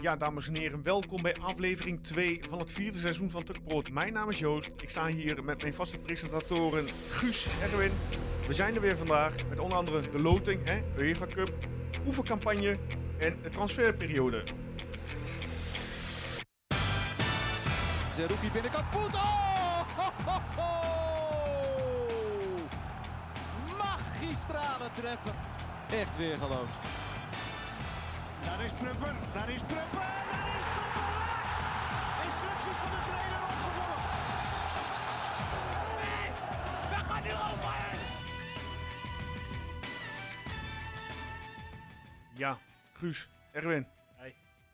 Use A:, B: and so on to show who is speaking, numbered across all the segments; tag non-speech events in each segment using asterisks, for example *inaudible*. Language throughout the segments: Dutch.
A: Ja, dames en heren, welkom bij aflevering 2 van het vierde seizoen van Tukbrood. Mijn naam is Joost. Ik sta hier met mijn vaste presentatoren Guus, Erwin. We zijn er weer vandaag met onder andere de loting, hè, UEFA Cup, oefencampagne en de transferperiode.
B: Zerouki binnenkant voet. Oh! Ho, ho, ho! Magistrale treppen. Echt weer geloof.
C: Daar is Prupper, daar is Prupper, daar is Prupper! Instructies van de trainer opgevolgd.
D: We gaan nu over!
A: Ja, Guus, Erwin,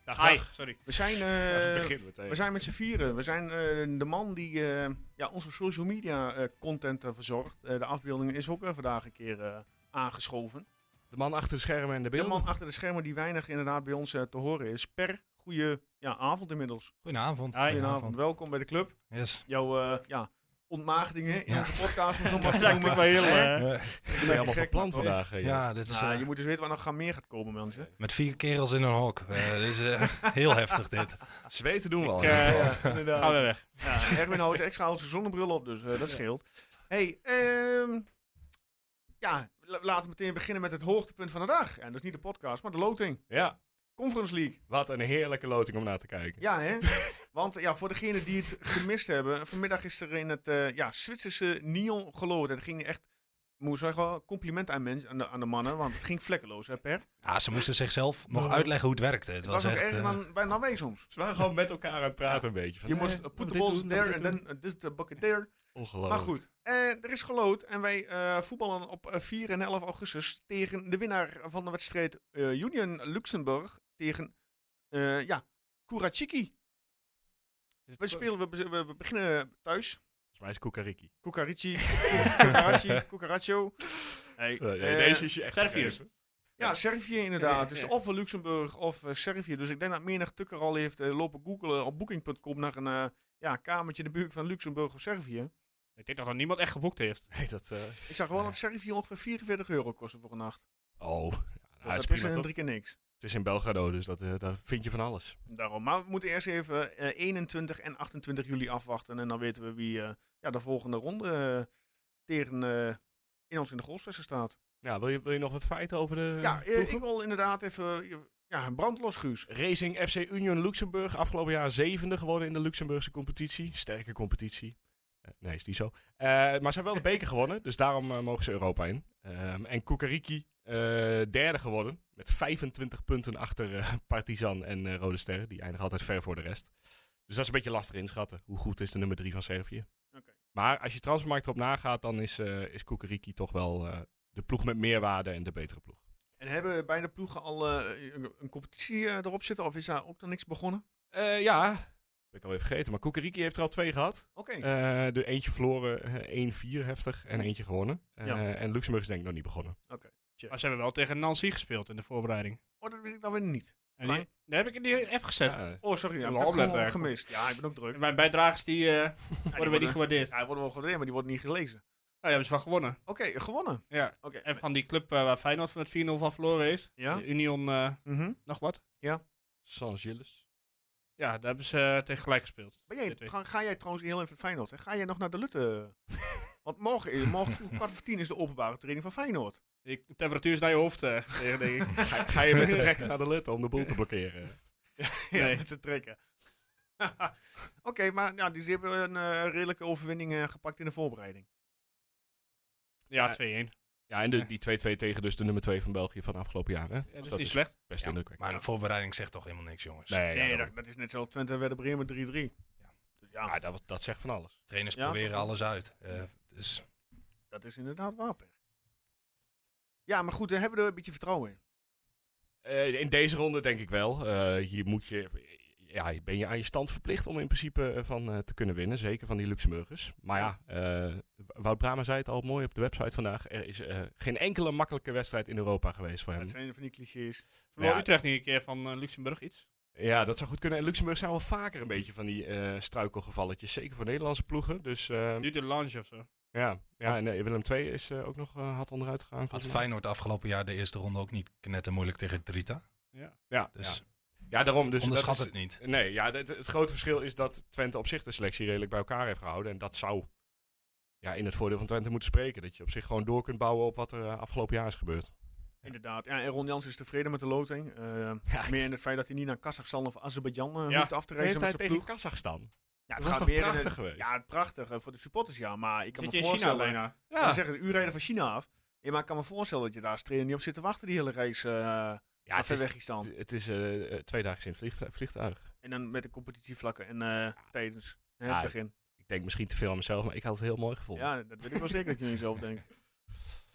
E: Dag,
A: Hi.
E: dag. Sorry.
A: we zijn,
E: Ja,
A: eh,
E: het begint meteen.
A: we *laughs* zijn met z'n vieren. We zijn eh, de man die eh, ja, onze social media eh, content eh, verzorgt. Eh, de afbeelding is ook eh, vandaag een keer eh, aangeschoven.
E: De man achter de schermen en
A: De
E: de beelden.
A: man achter de schermen die weinig inderdaad bij ons eh, te horen is. Per, goede ja, avond inmiddels.
F: Goedenavond.
E: Hi.
A: Goedenavond, welkom bij de club.
F: Yes.
A: Jouw eh, ja, ontmaagdingen in
F: Ja.
A: onze podcast, om zo
E: *laughs*
A: maar te
E: Ja, ik
A: noemen.
E: ben wel heel...
A: Hè?
E: eh,
A: Ik
E: ik
F: Eh,
E: ben
A: ben
E: helemaal
A: gek,
E: van plan
A: man.
E: vandaag. eh,
F: ja, dit is
A: Nou,
F: eh,
A: je moet dus weten waar nog gaan meer gaat komen, mensen.
F: met vier kerels in een hok. Eh, dit is eh, heel heftig dit.
E: joh. Zweten doen we
F: Oh,
E: al.
A: Ja,
E: hè?
A: ja, inderdaad.
E: Gaan we weg.
A: Ja, Erwin houdt extra al zijn zonnebril op, dus eh, dat scheelt. hey, ehm, ja, la- laten we meteen beginnen met het hoogtepunt van de dag. En dat is niet de podcast, maar de loting.
E: Ja,
A: Conference League.
E: wat een heerlijke loting om naar te kijken.
A: Ja,
F: *laughs*
A: hè? Want ja, voor degenen die het gemist hebben, vanmiddag is er in het eh, ja, Zwitserse Nyon geloten. Dat ging echt, moet ik zeggen, wel een compliment aan, mensen, aan, de, aan de mannen, want het ging vlekkeloos, hè, Per? Het
F: Ja, ze moesten zichzelf nog uitleggen hoe het werkte. Het
A: was,
F: was
A: nog
F: echt...
A: erger
F: eh,
A: dan bij Nawee soms.
E: Ze waren gewoon met elkaar aan het praten een beetje. Van,
A: Je
E: eh,
A: moest eh,
E: moet
A: put the
E: dit
A: balls
E: doen,
A: in there
E: moet
A: and
E: dit
A: then uh, this the bucket there.
E: doen. Ongelooflijk.
A: Maar goed, eh, er is geloot en wij eh, voetballen op eh, 4 en 11 augustus tegen de winnaar van de wedstrijd eh, Union Luxemburg tegen eh ja, Kurachiki. We, spelen, we, be- we- we beginnen thuis.
E: Volgens mij is Kukariki.
B: *laughs*
A: Kukarici, Kukarachi, Kukaracho.
E: Nee, nee,
A: eh,
E: deze is je echt...
B: Serviërs.
A: Ja, Servië inderdaad.
B: Ja,
A: Dus
B: ja.
A: of Luxemburg of eh, Servië. Dus ik denk dat menig Tukker al heeft eh, lopen googelen op booking.com naar een eh, ja, kamertje in de buurt van Luxemburg of Servië.
G: Ik denk dat er niemand echt geboekt heeft.
E: Nee, dat... eh,
A: Ik zag wel dat Servië ongeveer 44 euro kostte voor een nacht.
E: oh, ja, nou,
A: Dus
E: is
A: dat is
E: prima,
A: een
E: toch?
A: drie keer niks.
E: Het is in Belgrado, dus dat, eh, daar vind je van alles.
A: Daarom. Maar we moeten eerst even eh, 21 en 28 juli afwachten. En dan weten we wie eh, ja, de volgende ronde eh, tegen eh, in ons in de golfsvesten staat.
E: Ja, Nou, wil je, wil je nog wat feiten over de...
A: ja, eh,
E: ploegen?
A: ik wil inderdaad even eh, ja, brandlos, Guus.
E: Racing FC Union Luxemburg, afgelopen jaar zevende geworden in de Luxemburgse competitie. Sterke competitie. Eh, nee, is niet zo. Eh, maar ze hebben wel de beker gewonnen, dus daarom eh, mogen ze Europa in. Ehm, en Kukariki, eh, derde geworden. Met 25 punten achter eh, *laughs* Partizan en eh, Rode Sterren. Die eindigen altijd ver voor de rest. Dus dat is een beetje lastig inschatten. Hoe goed is de nummer drie van Servië?
A: Oké.
E: Maar als je transfermarkt erop nagaat, dan is, eh is Kukariki toch wel eh, de ploeg met meerwaarde en de betere ploeg.
A: En hebben beide ploegen al eh, een, een competitie eh, erop zitten? Of is daar ook nog niks begonnen?
E: Eh, ja, ben ik alweer vergeten. Maar Kukariki heeft er al twee gehad.
A: Oké.
E: Eh, de eentje verloren, eh, 1-4 heftig en eentje gewonnen. Eh,
A: Ja.
E: En Luxemburg is denk ik nog niet begonnen.
G: Maar ze hebben wel tegen Nancy gespeeld in de voorbereiding.
A: oh, dat weet ik dan weer niet.
G: En die, daar heb ik in die app gezet.
E: Ja, eh,
A: Oh, sorry. Ja, ik
G: Een
A: heb het gewoon
G: opmerking.
A: gemist. Ja, ik ben ook druk.
G: Mijn bijdragers die, eh,
A: Ja,
G: *laughs* worden weer niet gewaardeerd.
A: ja, die worden wel gewaardeerd, maar die worden niet gelezen.
G: Nou, die hebben ze van gewonnen.
A: Oké, gewonnen.
G: Ja.
A: Oké.
G: En van die club eh, waar Feyenoord met 4-0 van verloren heeft.
A: Ja?
G: De Union, eh,
A: Mhm.
G: nog wat.
E: San Gilles.
G: Ja, daar hebben ze eh, tegen gelijk gespeeld.
A: Maar jij,
G: Dit weet
A: ga, ga jij trouwens heel even Feyenoord? Hè? Ga jij nog naar de Lutte? Want morgen, is- morgen
E: *laughs*
A: vroeg kwart voor tien is de openbare training van Feyenoord. *laughs*
G: Die temperatuur is naar je hoofd eh, *laughs* tegen, denk ik.
E: Ga, ga je met de trekker naar de lutte om de boel te blokkeren?
A: Ja, met z'n trekken. *laughs* Oké, maar ja, die ze hebben een eh, redelijke overwinning eh, gepakt in de voorbereiding.
G: Ja,
E: Ja.
G: 2-1. Ja,
E: Ja, en de, die 2-2 tegen dus de nummer 2 van België van afgelopen jaar. Hè?
G: dat is
E: dat
G: niet
E: is-
G: slecht.
E: Best
F: Ja,
E: indrukwekkend.
F: maar de voorbereiding zegt toch helemaal niks, jongens.
E: nee, ja,
A: nee,
E: daarom.
A: dat, dat is net zo Twente en Werder Bremen 3-3. Dus ja,
E: Ah, dat, was- dat zegt van alles.
F: Trainers
A: Ja,
F: proberen
A: toch?
F: alles uit. Eh, dus,
A: dat is inderdaad waar, Per. Ja, maar goed, daar hebben we er een beetje vertrouwen in.
E: Eh, in deze ronde denk ik wel. Eh, hier moet je, ja, ben je aan je stand verplicht om in principe eh, van eh, te kunnen winnen. Zeker van die Luxemburgers. Maar ja, eh, Wout Brama zei het al mooi op de website vandaag. Er is eh, geen enkele makkelijke wedstrijd in Europa geweest voor hem.
A: Dat zijn van die clichés.
G: Verloor
E: Ja.
G: Utrecht niet een keer van eh, Luxemburg iets.
E: Ja, dat zou goed kunnen. En Luxemburg zijn wel vaker een beetje van die eh struikelgevalletjes. Zeker voor Nederlandse ploegen. Dus eh,
G: Nu de Lange of zo.
E: Ja, ja en eh, Willem II is eh, ook nog eh, hard onderuit gegaan.
F: Had
E: volgens mij.
F: Feyenoord afgelopen jaar de eerste ronde ook niet moeilijk tegen Drita.
E: Ja,
F: Dus
E: ja. ja, daarom. Dus dat
F: onderschat
E: is-
F: het niet.
E: Nee, ja, het, het grote verschil is dat Twente op zich de selectie redelijk bij elkaar heeft gehouden. En dat zou ja, in het voordeel van Twente moeten spreken. Dat je op zich gewoon door kunt bouwen op wat er eh, afgelopen jaar is gebeurd.
A: Inderdaad. Ja, en Ron Jans is tevreden met de loting. Eh,
E: *laughs* Ja,
A: meer in het feit dat hij niet naar Kazachstan of Azerbeidzjan eh,
G: Ja,
A: hoeft af te
E: de hele
A: reizen met
E: tijd
A: zijn
E: tegen
A: ploeg.
E: Kazachstan.
A: Ja,
E: Dat was toch
A: in
E: prachtig
A: de-
E: geweest?
A: Ja, prachtig. eh, voor de supporters ja, maar ik kan
G: Zit
A: me
G: je in China
A: voorstellen...
G: bijna?
A: Ja. Dan zeggen de uurrijden van China af. Ja, maar ik kan me voorstellen dat je daar als trainer niet op zit te wachten die hele reis eh
E: ja
A: af
E: het
A: en
E: is,
A: weg is dan.
E: het is eh, eh, twee dagen sinds vliegtuig, vliegtuig.
A: En dan met de competitievlakken en eh, tijdens hè,
E: Ja,
A: het begin.
E: Ik denk misschien te veel aan mezelf, maar ik had het heel mooi gevonden.
A: Ja, dat weet ik wel zeker dat je niet zelf denkt.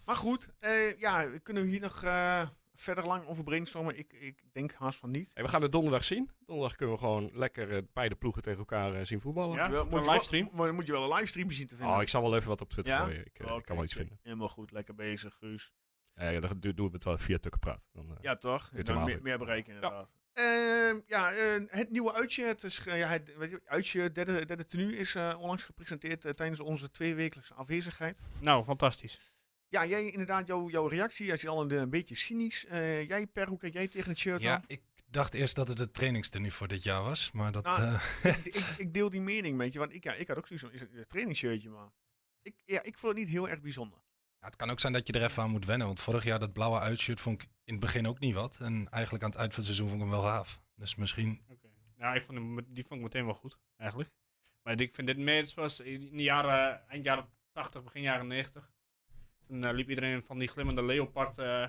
A: Maar goed, eh, ja, kunnen we hier nog eh, verder lang over brainstormen? Ik, ik denk haast van niet.
E: Hey, we gaan het donderdag zien. Donderdag kunnen we gewoon lekker eh, beide ploegen tegen elkaar eh, zien voetballen.
G: Ja,
A: Moet je wel-
G: een
A: moet je
G: livestream.
A: wel- moet je wel een livestream zien te vinden.
E: Oh, ik zal wel even wat op Twitter
A: Ja?
E: gooien. Ik, eh, ik kan wel iets vinden.
A: Helemaal goed, lekker bezig, Guus.
E: Eh, dan do- doen we het wel via Tukkenpraat. Dan, eh,
A: Ja, toch?
E: Kunt
A: Dan
E: hem
A: meer,
E: halen.
A: meer bereiken, inderdaad. Ja, ja eh, het nieuwe uitje, het is, eh, ja, het weet je, uitje, derde, derde tenue, is eh, onlangs gepresenteerd eh, tijdens onze tweewekelijkse afwezigheid.
G: Nou, fantastisch.
A: Ja, jij inderdaad, jouw jouw reactie, jij is al een, een beetje cynisch. Eh, jij, Perhoek, en jij tegen het shirt
F: Ja,
A: aan.
F: ik dacht eerst dat het het trainingstenue voor dit jaar was. Maar dat,
A: Nou,
F: eh, *laughs*
A: ik, ik deel die mening met je, want ik, ja, ik had ook zoiets van, is het een trainingsshirtje, maar... Ik, ja, ik vond het niet heel erg bijzonder.
F: ja, het kan ook zijn dat je er even aan moet wennen. Want vorig jaar dat blauwe uitshirt vond ik in het begin ook niet wat. En eigenlijk aan het eind van het seizoen vond ik hem wel gaaf. Dus misschien...
G: Nou, ik vond hem, met- die vond ik meteen wel goed, eigenlijk. Maar ik vind dit meer zoals in de jaren, eind jaren 80, begin jaren 90. Toen eh, liep iedereen van die glimmende leopard eh,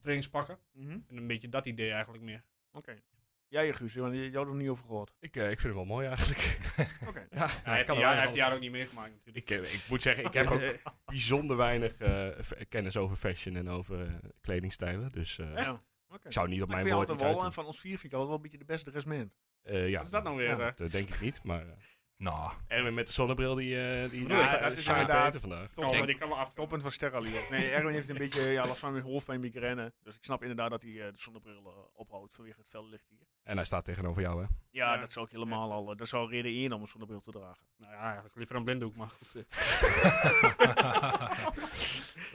G: trainingspakken.
A: Mhm.
G: En een beetje dat idee eigenlijk meer.
A: Oké. Jij, eh, Guus, want jij jij had er niet over gehoord.
E: ik, eh, ik vind hem wel mooi eigenlijk. *laughs*
A: Oké.
E: ja,
G: Ja, hij heeft
E: kan er
G: die jaar- hij
E: weinig
G: heeft die jaar ook niet meegemaakt natuurlijk.
E: Ik, eh, ik moet zeggen, ik heb ook
A: *laughs*
E: bijzonder weinig eh, f- kennis over fashion en over eh, kledingstijlen. Dus eh,
A: Ja. Oké.
E: ik zou niet op
A: Maar ik vind
E: mijn woord
A: altijd
E: iets
A: wel,
E: uit...
A: eh, van ons vier vind ik altijd wel een beetje de beste resment.
E: Eh, ja,
G: Wat is dat nou weer,
E: Ja,
G: eh?
E: dat eh, denk ik niet, maar... eh,
F: Nou,
E: Erwin met de zonnebril, die... eh die
G: Ja,
E: sta-
G: dat
E: die
G: is
E: staat
A: inderdaad-
E: beter vandaag.
G: Kan wel, Oh, die kan wel af.
A: Toppunt van Sterralier. Nee, Erwin heeft een beetje ja, last van hoofdpijn, migraine. Dus ik snap inderdaad dat hij eh, de zonnebril eh, ophoudt vanwege het felle licht hier.
E: En hij staat tegenover jou, hè?
A: Ja,
G: Ja.
A: dat zou ik helemaal al... eh, dat zou reden 1 om een zonnebril te
G: *laughs*
A: dragen.
G: Nou ja, eigenlijk liever een blinddoek, maar
E: *laughs*
G: goed. eh.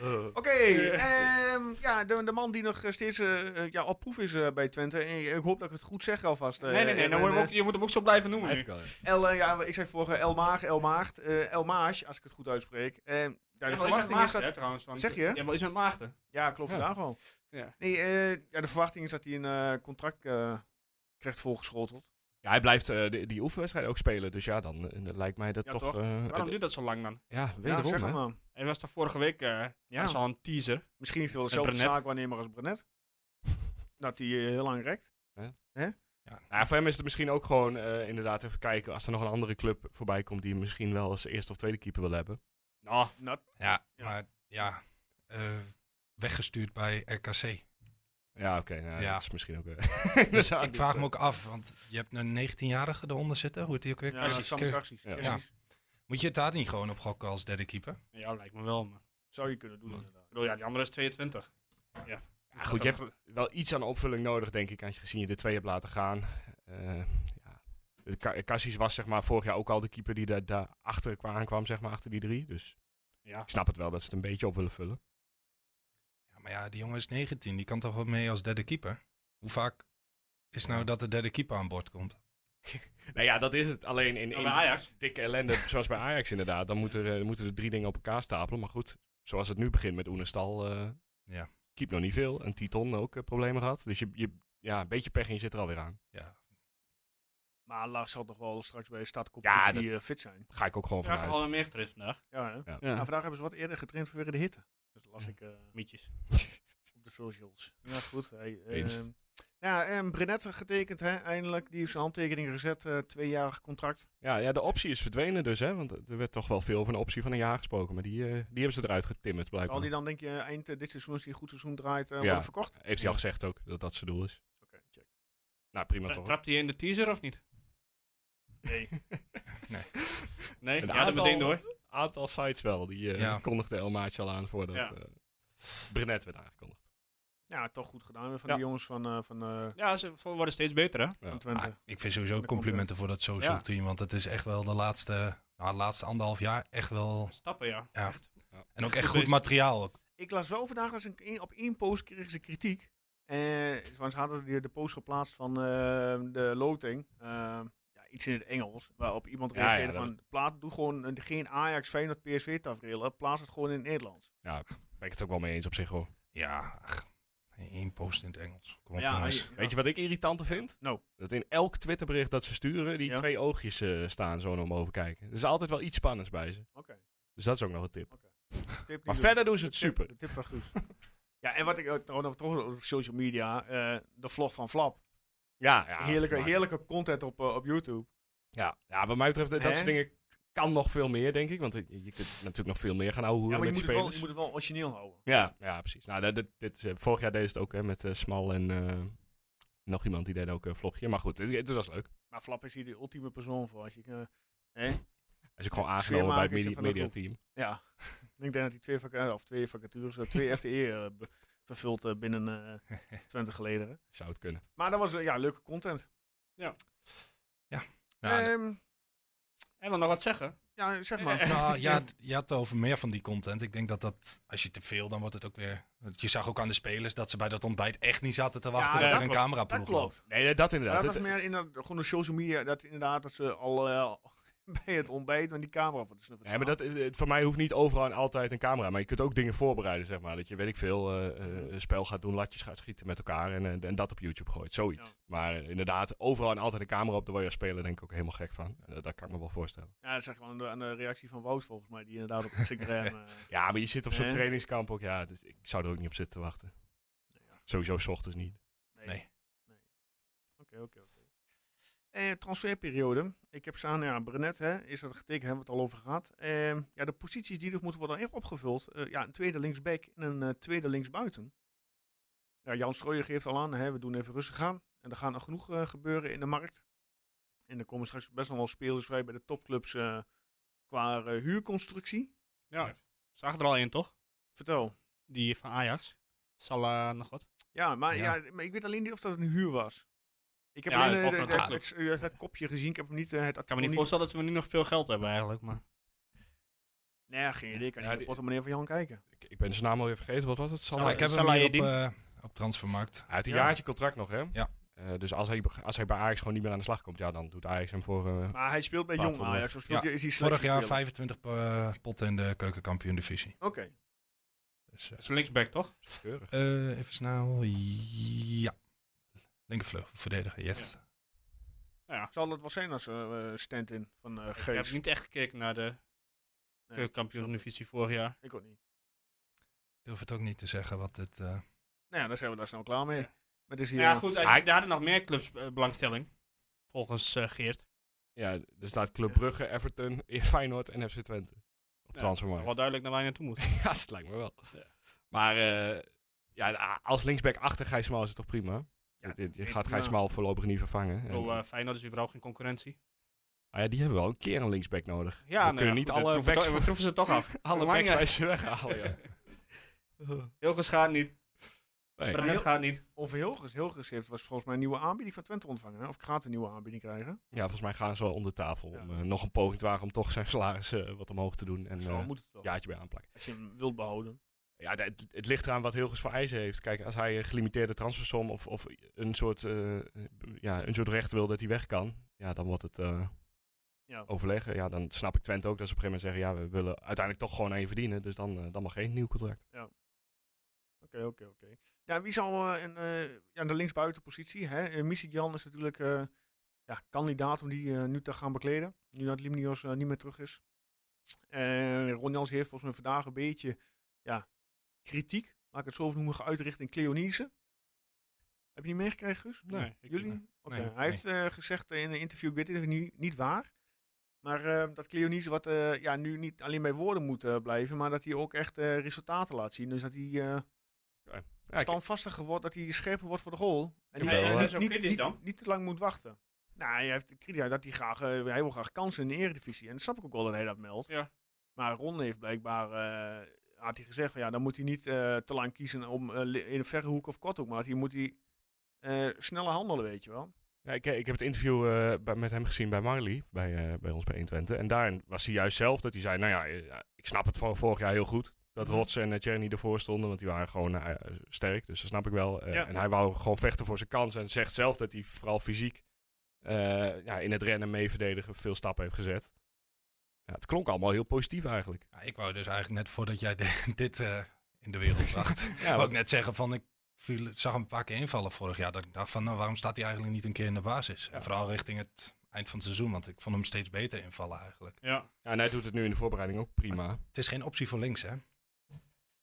G: Oh.
A: Oké, ehm, ja, de, de man die nog eh, steeds eh, eh, ja, op proef is eh, bij Twente. En ik hoop dat ik het goed zeg alvast. eh,
G: nee, nee, nee.
A: Erwin,
G: Dan moet je, hem ook,
A: eh,
G: je moet hem ook zo blijven noemen nu.
E: Eigenlijk wel, ja.
A: El, eh, ja, ik zei vorige El Maag, El Maagd, eh, El Maag, als ik het goed uitspreek. Eh, ja, de
G: Ja, wel iets met
A: verwachting is
G: maagden,
A: dat...
G: hè, trouwens. Want
A: Zeg je?
G: Ja, wel iets met maagden.
A: Ja, klopt
E: Ja.
A: vandaag wel.
G: Ja.
A: Nee, eh, ja, de verwachting is dat hij een eh, contract eh, krijgt volgeschoteld.
E: Ja, hij blijft eh, die, die oefenwedstrijd ook spelen. Dus ja, dan eh, lijkt mij dat
A: Ja,
E: toch...
A: toch?
E: eh,
G: Waarom
E: eh,
G: duurt dat zo lang dan?
E: ja,
A: Ja,
E: wederom,
A: zeg
E: hè?
A: het maar.
G: Hij was daar vorige week, eh
A: Ja.
G: dat is al een teaser.
A: Misschien heeft hij wel
G: En
A: dezelfde
G: Brenet.
A: zaakwaarnemer als Brenet. *laughs* dat hij eh, heel lang rekt.
E: Nou, voor hem is het misschien ook gewoon eh, inderdaad even kijken... als er nog een andere club voorbij komt... die hem misschien wel als eerste of tweede keeper wil hebben. Ah.
G: Nou,
A: Nou,
F: ja,
A: Ja.
F: maar ja, eh, weggestuurd bij RKC.
E: Ja, oké. nou,
F: Ja.
E: Dat is misschien ook... eh, *laughs* dus aan
F: Dus Ik
E: dit,
F: vraag
E: eh,
F: me ook af, want je hebt een 19-jarige eronder zitten. Hoe heet die ook weer?
A: ja, dat is
F: Kersic-
A: Sam Kaxis.
E: Ja.
A: Kaxis.
F: Moet je het daar niet gewoon op gokken als derde keeper?
G: ja, lijkt me wel. Maar.
A: Zou je kunnen doen,
F: Ja.
A: inderdaad.
G: Ik bedoel, ja, die andere is 22. Ja.
E: Ja, goed, je hebt wel iets aan opvulling nodig, denk ik, aangezien je de twee hebt laten gaan. Eh ja. De Ca- Cassis was zeg maar, vorig jaar ook al de keeper die daar- daarachter daar aankwam, zeg maar, achter die drie. Dus
G: Ja.
E: ik snap het wel dat ze het een beetje op willen vullen.
F: Ja, maar ja, die jongen is 19. Die kan toch wel mee als derde keeper? Hoe vaak is nou dat de derde keeper aan boord komt?
E: Nou ja, dat is het. Alleen in,
G: Nou,
E: in
G: bij Ajax.
E: dikke ellende, *laughs* zoals bij Ajax inderdaad, dan moeten er, eh, moeten er drie dingen op elkaar stapelen. Maar goed, zoals het nu begint met Oenestal, eh
F: Ja.
E: keep nog niet veel. En Titon ook eh, problemen gehad. Dus je, je, ja, een beetje pech en je zit er alweer aan.
F: Ja,
A: Maar Lars zal toch wel straks bij de
E: Ja,
A: stadcompetitie
E: dat-
A: eh, fit zijn.
E: Ga ik ook gewoon
G: Ik heb
E: vanuit.
G: al meer getraind vandaag.
A: Ja, hè?
E: Ja.
A: Nou, vandaag hebben ze wat eerder getraind vanwege de hitte. Dus dat las ik eh,
G: Mietjes.
A: op de socials. Ja, goed. Hey,
E: Eens.
A: ehm, ja, en Brenet getekend, hè, eindelijk. Die heeft zijn handtekening gezet. eh tweejarig contract.
E: Ja, ja, de optie is verdwenen dus, hè? Want er werd toch wel veel van een optie van een jaar gesproken. Maar die, eh, die hebben ze eruit getimmerd,
A: Zal
E: blijkbaar.
A: die dan, denk je, eind eh, dit seizoen, als hij een goed seizoen draait, eh
E: Ja.
A: worden verkocht? Oké,
E: Heeft hij al gezegd ook, dat dat zijn doel is.
A: check.
E: Nou, prima toch?
G: Trapt hij in de teaser of niet?
A: Nee.
F: Nee.
G: Nee,
E: Een
G: ja, dat
E: aantal-
G: meteen door.
E: aantal sites wel, die eh,
F: Ja.
E: die kondigde El Maatje al aan voordat
G: Ja.
E: eh Brenet werd aangekondigd.
A: Ja, toch goed gedaan weer van
G: Ja.
A: de jongens van, eh, van, eh,
G: Ja, ze vo- worden steeds beter, hè?
E: Ja.
A: van Twente.
F: Ah, ik vind sowieso
A: Dan komt
F: complimenten voor dat social
G: Ja.
F: team, want het is echt wel de laatste nou, de laatste anderhalf jaar echt wel.
G: Stappen, ja.
F: Ja.
G: Echt.
F: En ook
G: Goed
F: echt goed
G: bezig.
F: materiaal. ook.
A: Ik las wel vandaag dat ze een- op één post kregen ze kritiek. Eh, want ze hadden de, de post geplaatst van eh, de loting. Eh, ja, iets in het Engels. Waarop iemand
E: Ja, ja,
A: reageerde
E: dat-
A: van... Plaat, doe gewoon een- geen Ajax, Feyenoord, PSV tafereel. Plaats het gewoon in het Nederlands.
E: Ben ik het ook wel mee eens op zich hoor.
F: Ja, ach, één post in het Engels. Kom op,
A: Ja,
F: jongens.
A: ja.
E: Weet je wat ik irritanter vind?
A: Nou.
E: Dat in elk Twitterbericht dat ze sturen, die
A: Ja.
E: twee oogjes eh, staan zo naar omhoog kijken. Er is altijd wel iets spannends bij ze.
A: Oké.
E: Dus dat is ook nog een tip.
A: Tip die
E: Maar
A: doet.
E: verder doen ze het
A: De tip-
E: super.
A: De tip van Guus. ja, en wat ik eh, trouwens nog terug op social media... eh, de vlog van Flap.
E: Ja, ja
A: heerlijke,
E: vermaak.
A: heerlijke content op, eh, op YouTube.
E: Ja, ja, wat mij betreft, eh, dat
A: Hè?
E: soort dingen kan nog veel meer, denk ik. Want eh, je kunt natuurlijk nog veel meer gaan ouwehoeren
A: Ja, maar je
E: met
A: moet,
E: die
A: het wel, je
E: spelers.
A: moet het wel origineel houden.
E: Ja, ja, precies. Nou, dat, dit- dit, is, eh, vorig jaar deed ze het ook hè, met eh, Smal en eh, nog iemand die deed ook een vlogje. Maar goed, het, het was leuk.
A: Maar Flap is hier de ultieme persoon voor. Als je, eh, hè?
E: Hij is ook gewoon aangenomen bij het
A: Sfeermakertje
E: media,
A: van de groep.
E: team.
A: Ja, *laughs* ik denk dat hij twee, vaca- of twee vacatures, eh, twee FTE eh, be- vervult eh, binnen
E: *laughs*
A: twintig geleden. hè.
E: Zou het kunnen.
A: Maar dat was eh, ja, leuke content.
F: Nou,
A: Ehm,
G: En wil nog wat zeggen?
A: ja, zeg
E: Eh,
A: maar. *laughs*
F: Nou ja, d- je had het over meer van die content. Ik denk dat dat, als je te veel, dan wordt het ook weer. Want je zag ook aan de spelers dat ze bij dat ontbijt echt niet zaten te wachten
A: Ja,
F: dat
A: dat
F: er een
A: klopt.
F: cameraploeg
A: Dat
F: loopt.
A: klopt.
E: Nee, nee, dat
A: Maar
E: inderdaad.
A: dat was
E: Het-
A: meer in gewoon de social media, dat inderdaad dat ze al eh, *laughs* bij het ontbijt met die camera van de snuffers
E: Ja, maar dat, eh, eh, voor mij hoeft niet overal en altijd een camera. Maar je kunt ook dingen voorbereiden, zeg maar. Dat je, weet ik veel, eh, eh, een spel gaat doen, latjes gaat schieten met elkaar en, eh, en dat op YouTube gooit. Zoiets.
A: Ja.
E: Maar eh, inderdaad, overal en altijd een camera op, daar word je als speler denk ik ook helemaal gek van. Eh, dat kan ik me wel voorstellen.
A: Ja, dat zag je wel aan de, aan de reactie van Wout volgens mij, die inderdaad op
E: *laughs*
A: Instagram... eh,
E: Ja, maar je zit op zo'n
A: Nee.
E: trainingskamp ook. Ja, dus ik zou er ook niet op zitten te wachten. Sowieso 's ochtends niet.
A: Nee. Nee. Oké, oké, oké. Eh, transferperiode. Ik heb staan, ja, Brenet hè, is dat getekend, hebben we het al over gehad. Eh, ja, de posities die nog moeten worden echt opgevuld. eh, ja, een tweede linksback en een eh, tweede linksbuiten. Ja, Jan Strooijer geeft al aan, hè, we doen even rustig aan. En er gaan nog genoeg eh, gebeuren in de markt. En er komen straks best nog wel spelers vrij bij de topclubs eh, qua eh, huurconstructie.
G: Ja. Zag er al één, toch?
A: Vertel.
G: Die van Ajax. Salah nog wat.
A: Ja, maar, ja.
F: Ja.
A: maar ik weet alleen niet of dat een huur was. Ik heb
G: Ja,
A: alleen
G: dat
A: eh,
G: is wel
A: de-
G: van
A: de-
G: een
A: het, eh, het kopje gezien. Ik heb hem niet eh, het
G: Ik kan me niet voorstellen dat we nu nog veel geld hebben eigenlijk. Maar
A: Nee, geen idee. Ik kan niet
E: Ja,
A: op de
E: die-
A: portemonnee van Jan kijken.
E: Ik, ik ben zijn naam alweer vergeten. Wat was het? Salah?
F: Maar Nou, ik heb hem
G: Salah
F: hier op,
G: Eddin.
F: eh, op transfermarkt.
E: Hij heeft een
A: Ja.
E: jaartje contract nog, hè?
F: Ja.
E: Eh, dus als hij, als hij bij Ajax gewoon niet meer aan de slag komt, ja, dan doet Ajax hem voor... eh,
A: Maar hij speelt bij
E: Laten
A: Jong
E: we
A: Ajax. Of speelt
F: Ja,
A: hij, is hij
F: Vorig jaar
A: selectiespeler?
F: 25 eh, potten in de keukenkampioen divisie.
A: Oké.
F: Dus, eh,
G: dat is een linksback, toch?
E: keurig.
F: eh, even snel. Ja. Linkervleugel verdedigen, yes.
G: Nou ja.
A: Zal dat wel zijn als eh, eh, stand-in van eh
G: Ik heb
A: Gees?
G: niet eh, echt gekeken naar de
A: Nee,
G: keukenkampioen-divisie vorig jaar.
A: Ik ook niet.
F: Ik durf het ook niet te zeggen wat het... eh,
A: Nou ja, dan zijn we daar snel klaar mee.
G: Ja. Nou
A: Maar het is hier...
G: Ja,
A: eh,
G: goed. Als,
E: Hij-
G: daar hadden nog meer clubs eh, belangstelling. Volgens eh, Geert.
E: Ja, er staat Club Brugge, Everton, *laughs* Feyenoord en FC Twente. Op
G: Ja,
E: transfermarkt. *laughs*
G: Toch wel duidelijk naar waar je naartoe moet.
E: Ja, dat lijkt me wel. Maar eh, ja, als linksback achter Gijs Smal is het toch prima?
A: Ja,
E: je je
A: ik-
E: gaat Gijs
A: ja.
E: Smal voorlopig niet vervangen.
G: Ik
E: En-
G: bedoel, eh, Feyenoord is überhaupt geen concurrentie.
E: ah, ja, die hebben wel een keer een linksback nodig.
G: Ja,
E: we kunnen niet alle backs,
G: we troeven ze toch af.
E: alle
G: Maakt
E: backs
G: niet
E: bij
G: uit.
E: ze weghalen. Ja.
G: *laughs* Hilgers gaat niet.
E: Nee.
G: Brenet
A: heel-
G: gaat niet.
A: Over Hilgers. Hilgers heeft was volgens mij een nieuwe aanbieding van Twente ontvangen. Hè? Of gaat een nieuwe aanbieding krijgen.
E: *laughs* ja, volgens mij gaan ze wel onder tafel.
A: Ja.
E: Om eh, nog een poging te wagen om toch zijn salaris eh, wat omhoog te doen. En
A: Zo
E: eh, een
A: moet het wel.
E: jaartje bij aanplakken.
A: Als je hem wilt behouden.
E: Ja, d- het, het ligt eraan wat Hilgers voor eisen heeft. Kijk, als hij een gelimiteerde transfersom of, of een, soort, eh, ja, een soort recht wil dat hij weg kan. Ja, dan wordt het... eh,
A: Ja.
E: overleggen. Ja, dan snap ik Twente ook dat ze op een gegeven moment zeggen: ja, we willen uiteindelijk toch gewoon één verdienen. Dus dan, eh, dan mag geen nieuw contract.
A: Oké, oké, oké. Ja, wie zal eh, een, eh, ja, de linksbuitenpositie? Hè? Eh, Missidjan is natuurlijk eh, ja, kandidaat om die eh, nu te gaan bekleden. Nu dat Limnios eh, niet meer terug is. Eh Ron Jans heeft volgens mij vandaag een beetje ja, kritiek, laat ik het zo noemen, geuit richting Cleonise. Heb je niet meegekregen, Guus?
G: Nee, ik-
A: Jullie?
G: nee.
A: Oké,
F: Nee,
A: Hij
F: nee.
A: heeft eh, gezegd in een interview, ik weet het niet, niet waar. Maar eh, dat Cleonise wat eh, ja, nu niet alleen bij woorden moet eh, blijven, maar dat hij ook echt eh, resultaten laat zien. Dus dat hij eh,
E: Ja, ik-
A: standvastiger wordt, dat hij scherper wordt voor de goal. En
E: Ja,
A: hij
E: ja,
G: zo kritisch
A: niet,
G: dan?
A: niet te lang moet wachten. Nou, hij heeft kritisch dat hij graag, eh, hij wil graag kansen in de eredivisie. En dat snap ik ook wel dat hij dat meldt.
G: Ja.
A: Maar Ron heeft blijkbaar, eh, had hij gezegd van ja, dan moet hij niet eh, te lang kiezen om eh, li- in een verre hoek of kort hoek. Maar dat hij moet hij eh, sneller handelen, weet je wel.
E: Ja, ik, ik heb het interview eh, bij- met hem gezien bij Marley, bij, eh, bij ons bij 120. En daarin was hij juist zelf dat hij zei, nou ja, eh, ik snap het van vorig jaar heel goed. Dat Rots en eh, Tjerni ervoor stonden, want die waren gewoon eh, sterk. Dus dat snap ik wel. Eh,
A: Ja.
E: En hij wou gewoon vechten voor zijn kans. En zegt zelf dat hij vooral fysiek eh, ja, in het rennen mee verdedigen veel stappen heeft gezet. Ja, het klonk allemaal heel positief eigenlijk.
F: Ja, ik wou dus eigenlijk net voordat jij *laughs* de- dit eh, in de
A: *laughs*
F: wereld bracht,
E: Ja,
F: wou
E: want-
F: ik net zeggen van ik viel, zag hem een paar keer invallen vorig jaar. Dat ik dacht van nou, waarom staat hij eigenlijk niet een keer in de basis? En vooral richting het eind van het seizoen, want ik vond hem steeds beter invallen eigenlijk.
G: Ja,
E: ja, en hij doet het nu in de voorbereiding ook prima.
F: Het is geen optie voor links hè?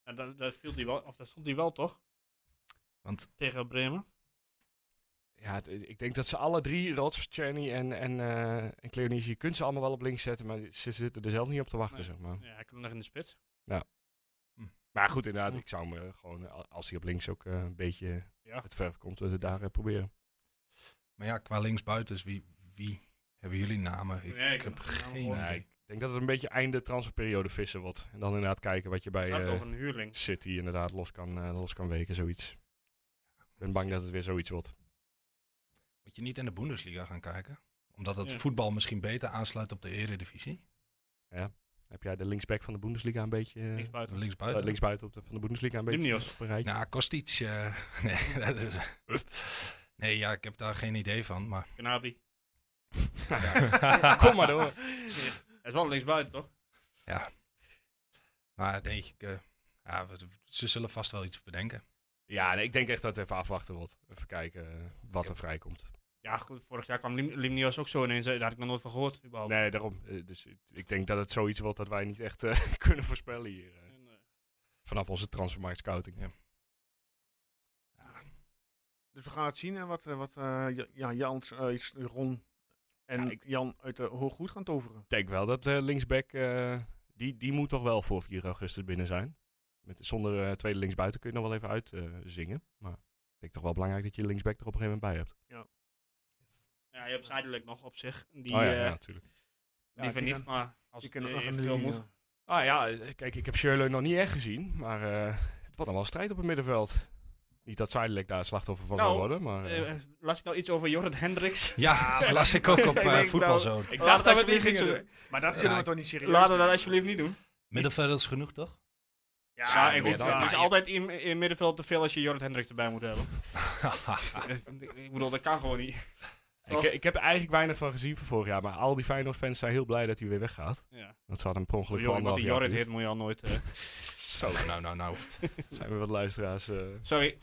G: nou, dat, dat viel die wel, of dat stond hij wel toch?
F: Want-
G: Tegen Bremen.
E: Ja, het- ik denk dat ze alle drie, Rots, Tjerni en, en, eh en Cleonice, je kunt ze allemaal wel op links zetten. Maar ze zitten er zelf niet op te wachten,
G: Nee.
E: zeg maar.
G: Ja, hij kon nog in de spits.
E: Maar goed, inderdaad, ik zou hem eh, gewoon, eh, als hij op links ook eh, een beetje
G: Ja.
E: het verf komt, eh, daar eh, proberen.
F: Maar ja, qua linksbuitens, wie, wie hebben jullie namen? Ik,
G: Nee,
F: ik
G: ik
F: heb
G: heb geen namen
F: geen
G: gehoord.
E: Nee,
F: idee.
E: ik denk dat het een beetje einde transferperiode vissen wordt. En dan inderdaad kijken wat je bij
G: Hij had
E: eh,
G: over een huurling.
E: City inderdaad los kan, eh, los kan weken, zoiets. Ik ben bang dat het weer zoiets wordt.
F: Moet je niet in de Bundesliga gaan kijken? Omdat het
G: Ja.
F: voetbal misschien beter aansluit op de eredivisie.
E: Heb jij de linksback van de Bundesliga een beetje... eh,
G: Niks buiten.
E: eh,
F: Linksbuiten.
E: linksbuiten op de, van de Bundesliga een beetje
G: Limnios.
E: bereikt?
F: Nou, Kostic. eh, *laughs* nee, dat is, nee, ja, ik heb daar geen idee van.
G: *laughs*
F: Maar
G: Kanabi.
E: *laughs* Kom maar door.
G: Hij is wel linksbuiten toch?
F: Maar denk ik, eh, ja, we- ze zullen vast wel iets bedenken.
E: Ja, nee, ik denk echt dat het even afwachten wordt. Even kijken eh, wat er vrijkomt.
G: Ja, goed, vorig jaar kwam Lim- Limnios ook zo ineens. eh, Daar had ik nog nooit van gehoord. Überhaupt.
E: Nee, daarom. Eh, Dus ik- ik denk dat het zoiets wordt dat wij niet echt eh, *laughs* kunnen voorspellen hier. eh,
G: En, eh,
E: vanaf onze transfermarkt scouting.
A: Dus we gaan het zien hè, wat, eh, wat eh, Ja- ja, Jans, eh, Ron en
E: Ja, ik-
A: Jan uit de Hooggoed gaan toveren.
E: Ik denk wel dat eh, linksback, eh, die, die moet toch wel voor 4 augustus binnen zijn. Met, zonder eh, tweede linksbuiten kun je nog wel even uitzingen. maar ik denk toch wel belangrijk dat je linksback er op een gegeven moment bij hebt.
G: ja, je hebt zijdelijk nog op zich. Die,
E: oh ja,
G: eh,
E: ja, natuurlijk.
A: Ja,
G: liever
A: die
G: niet,
A: gaan-
G: maar als
A: Die
G: het
A: kunnen
G: eh,
A: nog aan de
G: eventueel
A: linie,
G: moet.
A: ja.
E: Ah ja, eh, kijk, ik heb Shirley nog niet echt gezien. Maar eh, het wordt nog wel een strijd op het middenveld. Niet dat Zuidelijk daar slachtoffer van
G: Nou,
E: zou worden, maar... eh,
G: Eh, eh, las ik nou iets over Jorrit Hendricks? *laughs*
F: Ja, *laughs* dat las ik ook op
A: Ik
F: eh
A: denk
F: voetbalzone.
E: ik
G: Laten
A: Oh,
E: dacht dat we het
G: alsjeblieft
E: niet
G: niet
E: gingen
G: zo
E: doen.
G: doen.
A: Maar dat
F: Ja,
A: kunnen we
F: ik-
A: toch nou niet serieus
G: Laten we
A: nemen?
G: dat alsjeblieft niet doen.
F: Middenveld is genoeg, toch?
G: Ja, ik
E: meer
G: weet
E: dan.
G: het. Er is
E: Ja,
G: altijd in, in middenveld te veel als je Jorrit Hendricks erbij moet
E: *laughs*
G: hebben. Dus, ik bedoel, dat kan gewoon niet.
E: Ik, ik heb er eigenlijk weinig van gezien van vorig jaar. Maar al die Feyenoord-fans zijn heel blij dat hij weer weggaat.
G: Ja.
E: Dat ze hadden hem per ongeluk
G: Jorrit,
E: van
G: wat
E: anderhalf
G: die
E: jaar
G: Jorrit heet
E: gehuurd.
G: moet je al
E: *laughs*
G: nooit... eh,
F: Zo, nou, nou, nou.
E: Zijn we wat luisteraars. eh.
G: sorry.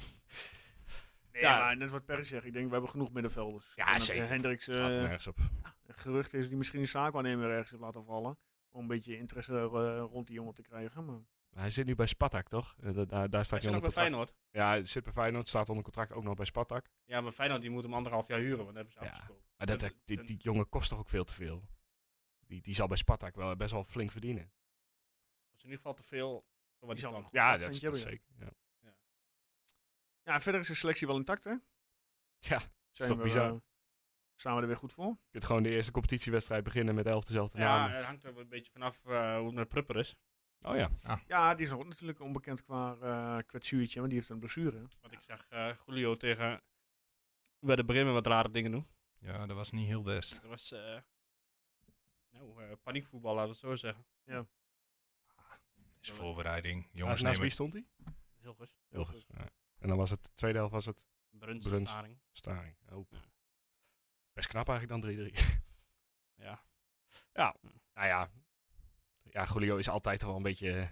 A: Nee,
E: Ja.
A: maar net wat Perry zegt. Ik denk, we hebben genoeg middenvelders.
E: Ja,
A: En dat, eh,
E: zeker.
A: Hendricks eh,
E: Slaat er nergens op.
A: gerucht is die misschien een zaakwaarnemer ergens heeft laten vallen. Om een beetje interesse eh, rond die jongen te krijgen. Maar
E: Hij zit nu bij Spartak, toch? Eh, da- daar, daar
G: Hij
E: staat
G: zit
E: hij
G: nog
E: onder
G: bij
E: contract.
G: Feyenoord.
E: Ja, hij zit bij Feyenoord, staat onder contract ook nog bij Spartak.
G: Ja, maar Feyenoord die moet hem anderhalf jaar huren, want dat hebben ze
E: Ja.
G: afgesproken.
E: Maar dat,
G: Dat-
E: die,
G: dat-
E: die jongen kost toch ook veel te veel? Die, die zal bij Spartak wel best wel flink verdienen.
G: Dat is in ieder geval te veel voor wat
A: Die zal
G: hij kan.
A: nog-
E: Ja,
A: dat
E: dat,
A: vind
E: dat
A: je,
E: is
A: ja.
E: zeker. Ja.
A: ja, verder is de selectie wel intact, hè?
E: Tja, dat is
A: Zijn
E: toch
A: we,
E: bizar.
A: eh, staan we er weer goed voor?
E: Je kunt gewoon de eerste competitiewedstrijd beginnen met elf dezelfde
G: Ja, eh,
E: namen.
G: het hangt er wel een beetje vanaf eh, hoe het met Prupper is.
E: Oh ja.
F: Ah,
A: Ja, die is nog ook natuurlijk onbekend qua eh kwetsuurtje. Maar die heeft een blessure.
G: Want ik zag eh Julio tegen... Bij de Bremen wat rare dingen doen.
F: Ja, dat was niet heel best.
G: Dat was... eh, nou, eh, paniekvoetbal, laten we het zo zeggen.
F: Is voorbereiding.
E: Jongens,
F: Jongens,
E: naast
F: nemen.
E: wie stond hij?
G: Heel goed.
E: Hilgers. Ja. En dan was het, de tweede helft was het
G: Bruns,
E: Bruns.
G: Bruns.
E: Staring. Oh.
G: Ja.
E: Best knap eigenlijk dan 3-3.
G: Ja.
E: Ja, *laughs* nou ja. Ja, Julio is altijd wel een beetje eh,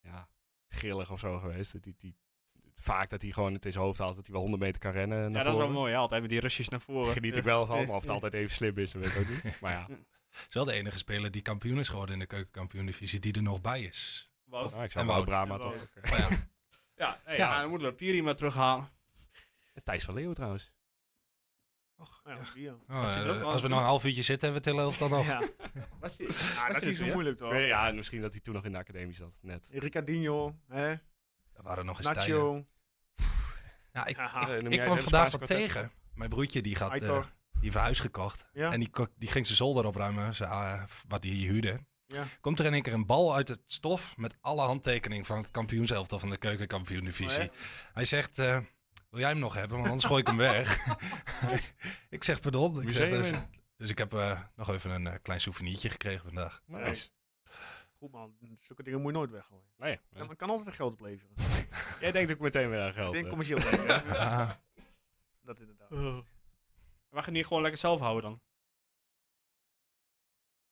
E: ja, grillig of zo geweest. Dat Die, die, vaak dat hij gewoon het in zijn hoofd haalt dat hij wel 100 meter kan rennen.
G: ja,
E: naar
G: dat is wel
E: voren.
G: mooi. Ja, altijd hebben die Russisch naar voren.
E: Geniet ik wel van, maar of het altijd even slim is, dat weet ik ook niet. Maar ja,
G: *laughs*
F: Is wel de enige speler die kampioen is geworden in de keukenkampioen-divisie die er nog bij is.
G: Wout.
E: nou, ik zou
F: En
E: wel
F: Wout.
E: Brama
G: En
E: toch.
G: Wout.
E: ook, eh.
F: Maar ja,
G: Ja, nee,
F: Ja.
G: ja, dan moeten we Piri maar terughalen.
E: Thijs van Leeuw trouwens.
F: och,
A: Ja,
F: ja.
A: die, ja.
F: Oh,
G: Is het ook
F: eh,
G: wel-
F: als we nog een half uurtje zitten, hebben we het hele helft dan nog.
A: Ja.
G: Was die,
A: Ja, dat is niet zo moeilijk, toch?
E: Nee, ja, en misschien dat hij toen nog in de academie zat, net.
A: Ricardinho, hè?
F: Er waren nog eens tijden.
A: Nacho,
F: Ja, ik,
G: Ah.
A: haha. Oh,
E: Eh, noem
F: ik
E: jij
F: kwam
E: het
F: vandaag
E: Spaanse
F: wat
E: kwartet?
F: tegen. Mijn broertje die gaat, eh,
A: Aitor.
F: die heeft een huis gekocht.
A: Ja.
F: En die, ko- die ging zijn zolder opruimen, zijn, eh, wat hij huurde.
A: Ja.
F: Komt er in één keer een bal uit het stof met alle handtekeningen van het kampioenselftal van de keukenkampioen divisie.
A: Oh,
F: Hij zegt, eh, Wil jij hem nog hebben? Want anders gooi ik hem
A: *laughs*
F: weg. *laughs* ik zeg pardon. Ik zeg,
E: Museum
F: dus,
E: in.
F: dus ik heb eh, nog even een eh, klein souvenirtje gekregen vandaag.
E: Nice.
A: Goed man, zulke dingen moet je nooit weggooien.
E: Nee,
A: Ja, maar het kan altijd geld opleveren.
E: Nou Jij denkt ook meteen weer aan
A: Ik
E: geld. eh.
A: denk
E: hè?
A: commercieel. denken.
E: *laughs*
F: Ah,
A: dat inderdaad.
G: We gaan die gewoon lekker zelf houden dan.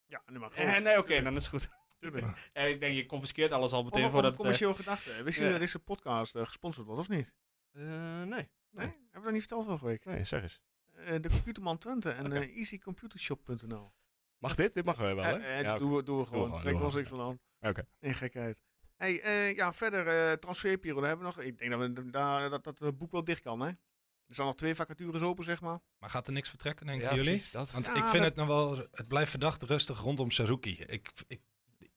A: Ja, nu maar
G: Eh,
A: gewoon.
G: nee, oké, dan is het goed.
A: Tuurlijk.
G: Eh, ik denk, je confiskeert alles al
A: Of,
G: meteen
A: of
G: voordat...
A: een
G: eh,
A: commercieel gedachte. Wist je
G: ja.
A: dat deze podcast eh, gesponsord wordt of niet?
E: Eh, nee.
A: Nee? Hebben we dat niet verteld vorige week?
E: Nee, zeg eens.
A: Eh, de Computerman Twente en
E: Oké.
A: eh, easycomputershop.nl.
E: Mag dit? Dit mag wel, hè?
A: Eh, eh,
E: Ja, oké.
A: doen, we, doen we
E: gewoon,
A: gewoon.
E: doe
A: Trek
E: gewoon.
A: ons niks van aan.
E: Oké.
A: In gekheid. Hey, eh, ja, verder eh transferperiode hebben we nog. Ik denk dat, we, d- daar, dat, dat het boek wel dicht kan, hè? Er zijn nog twee vacatures open, zeg maar.
F: *laughs* maar gaat er niks vertrekken, denken
E: Ja,
F: jullie?
E: precies, dat.
F: Want
A: Ja,
F: ik vind
A: Ah, dat-
F: het nog wel... Het blijft verdacht rustig rondom Saruki. Ik, ik,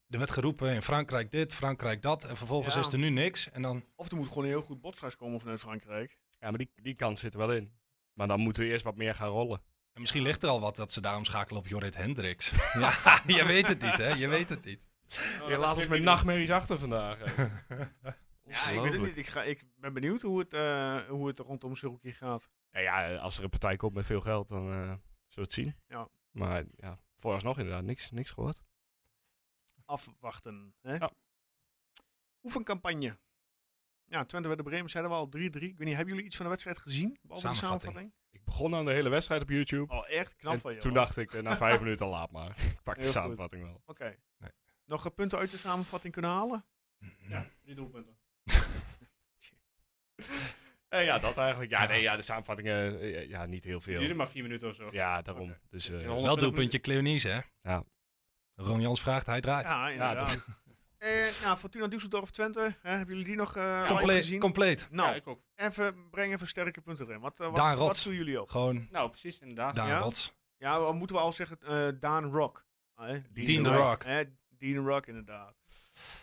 F: er werd geroepen in Frankrijk dit, Frankrijk dat. En vervolgens
A: Ja.
F: is er nu niks. En dan...
A: Of er moet gewoon een heel goed botshuis komen vanuit Frankrijk.
E: Ja, maar die, die kans zit er wel in. Maar dan moeten we eerst wat meer gaan rollen.
F: en misschien ligt er al wat dat ze daarom schakelen op Jorrit Hendricks. ja, *laughs* je weet het niet, hè? Je weet het niet.
G: oh,
E: Je laat
G: dat vind
E: ons
G: ik
E: met
G: niet.
E: nachtmerries achter vandaag. hè.
A: Ja, ik weet het
E: Ongelooflijk.
A: niet. Ik, ga, ik ben benieuwd hoe het, eh, hoe het rondom Saruki gaat.
E: Nou *laughs* ja, als er een partij komt met veel geld, dan eh, zullen we het zien.
A: Ja.
E: Maar ja, vooralsnog inderdaad niks, niks gehoord.
A: Afwachten. Hè?
E: Ja.
A: Oefencampagne. Ja, Twente werd de Bremen, zeiden we al 3-3. Ik weet niet, hebben jullie iets van de wedstrijd gezien? Behalve de
F: Samenvatting.
A: samenvatting?
E: Ik begon aan de hele wedstrijd op YouTube.
A: Oh, echt knap
E: en
A: van je.
E: toen
A: hoor.
E: dacht ik, eh, na
A: *laughs*
E: vijf minuten laat maar. Ik pak de
A: Heel goed.
E: samenvatting wel.
A: Oké.
F: Nee.
A: Nog eh, punten uit de samenvatting kunnen halen?
G: Ja, drie doelpunten.
E: Eh, ja, dat eigenlijk. Ja, nee, ja, de samenvattingen, eh, eh, ja, niet heel
G: Duurde
E: veel.
G: maar vier minuten of zo.
E: Ja, daarom. Dus eh,
G: Ja,
E: ja,
F: Wel doelpuntje Cleonice, hè?
E: Ja.
F: Ron Jans vraagt, hij draait.
A: Ja, inderdaad.
E: dat-
F: *laughs*
A: Eh, nou, Fortuna Düsseldorf Twente, hè, hebben jullie die nog eh live
F: compleet,
A: gezien?
F: compleet.
A: nou,
G: Ja, ik ook.
A: even breng even sterke punten erin. Wat, eh,
F: Daan
A: wat, wat
F: Rots.
A: doen jullie op?
F: Gewoon
G: Nou, precies, inderdaad.
F: Daan
A: Ja?
F: Rots.
A: Ja, dan moeten we al zeggen eh, Daan Rock. Eh,
E: Dean
F: de Rock.
A: Eh, Dean Rock, inderdaad.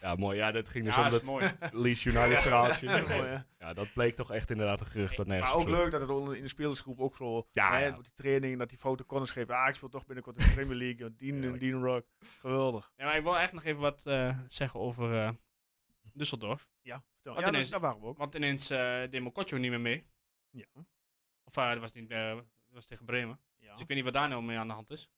E: ja, mooi. Ja, dat ging dus
G: Ja,
E: om
G: dat is
E: dat
G: mooi.
E: Leeds United verhaaltje.
A: *laughs* Mooi, hè?
E: Ja, dat bleek toch echt inderdaad een gerucht dat nergens
A: Maar ook
E: op sloeg.
A: leuk dat het onder- in de spelersgroep ook zo...
E: Ja,
A: hè,
E: ja.
A: op die training, dat die foto corners geeft. Ah, ik speel toch binnenkort in de Premier League. joh. Dean,
E: Heerlijk.
A: Dean Rock. Geweldig.
G: Ja, maar ik wil echt nog even wat eh, zeggen over eh, Düsseldorf.
A: Ja, vertel.
G: Wat
A: Ja, dat,
G: ineens-
A: daar waren we ook.
G: Want ineens eh deed Mokotjo niet meer mee.
A: Ja.
G: Of eh, dat was, niet, eh, dat was tegen Bremen.
A: ja.
G: Dus ik weet niet wat daar nou mee aan de hand is.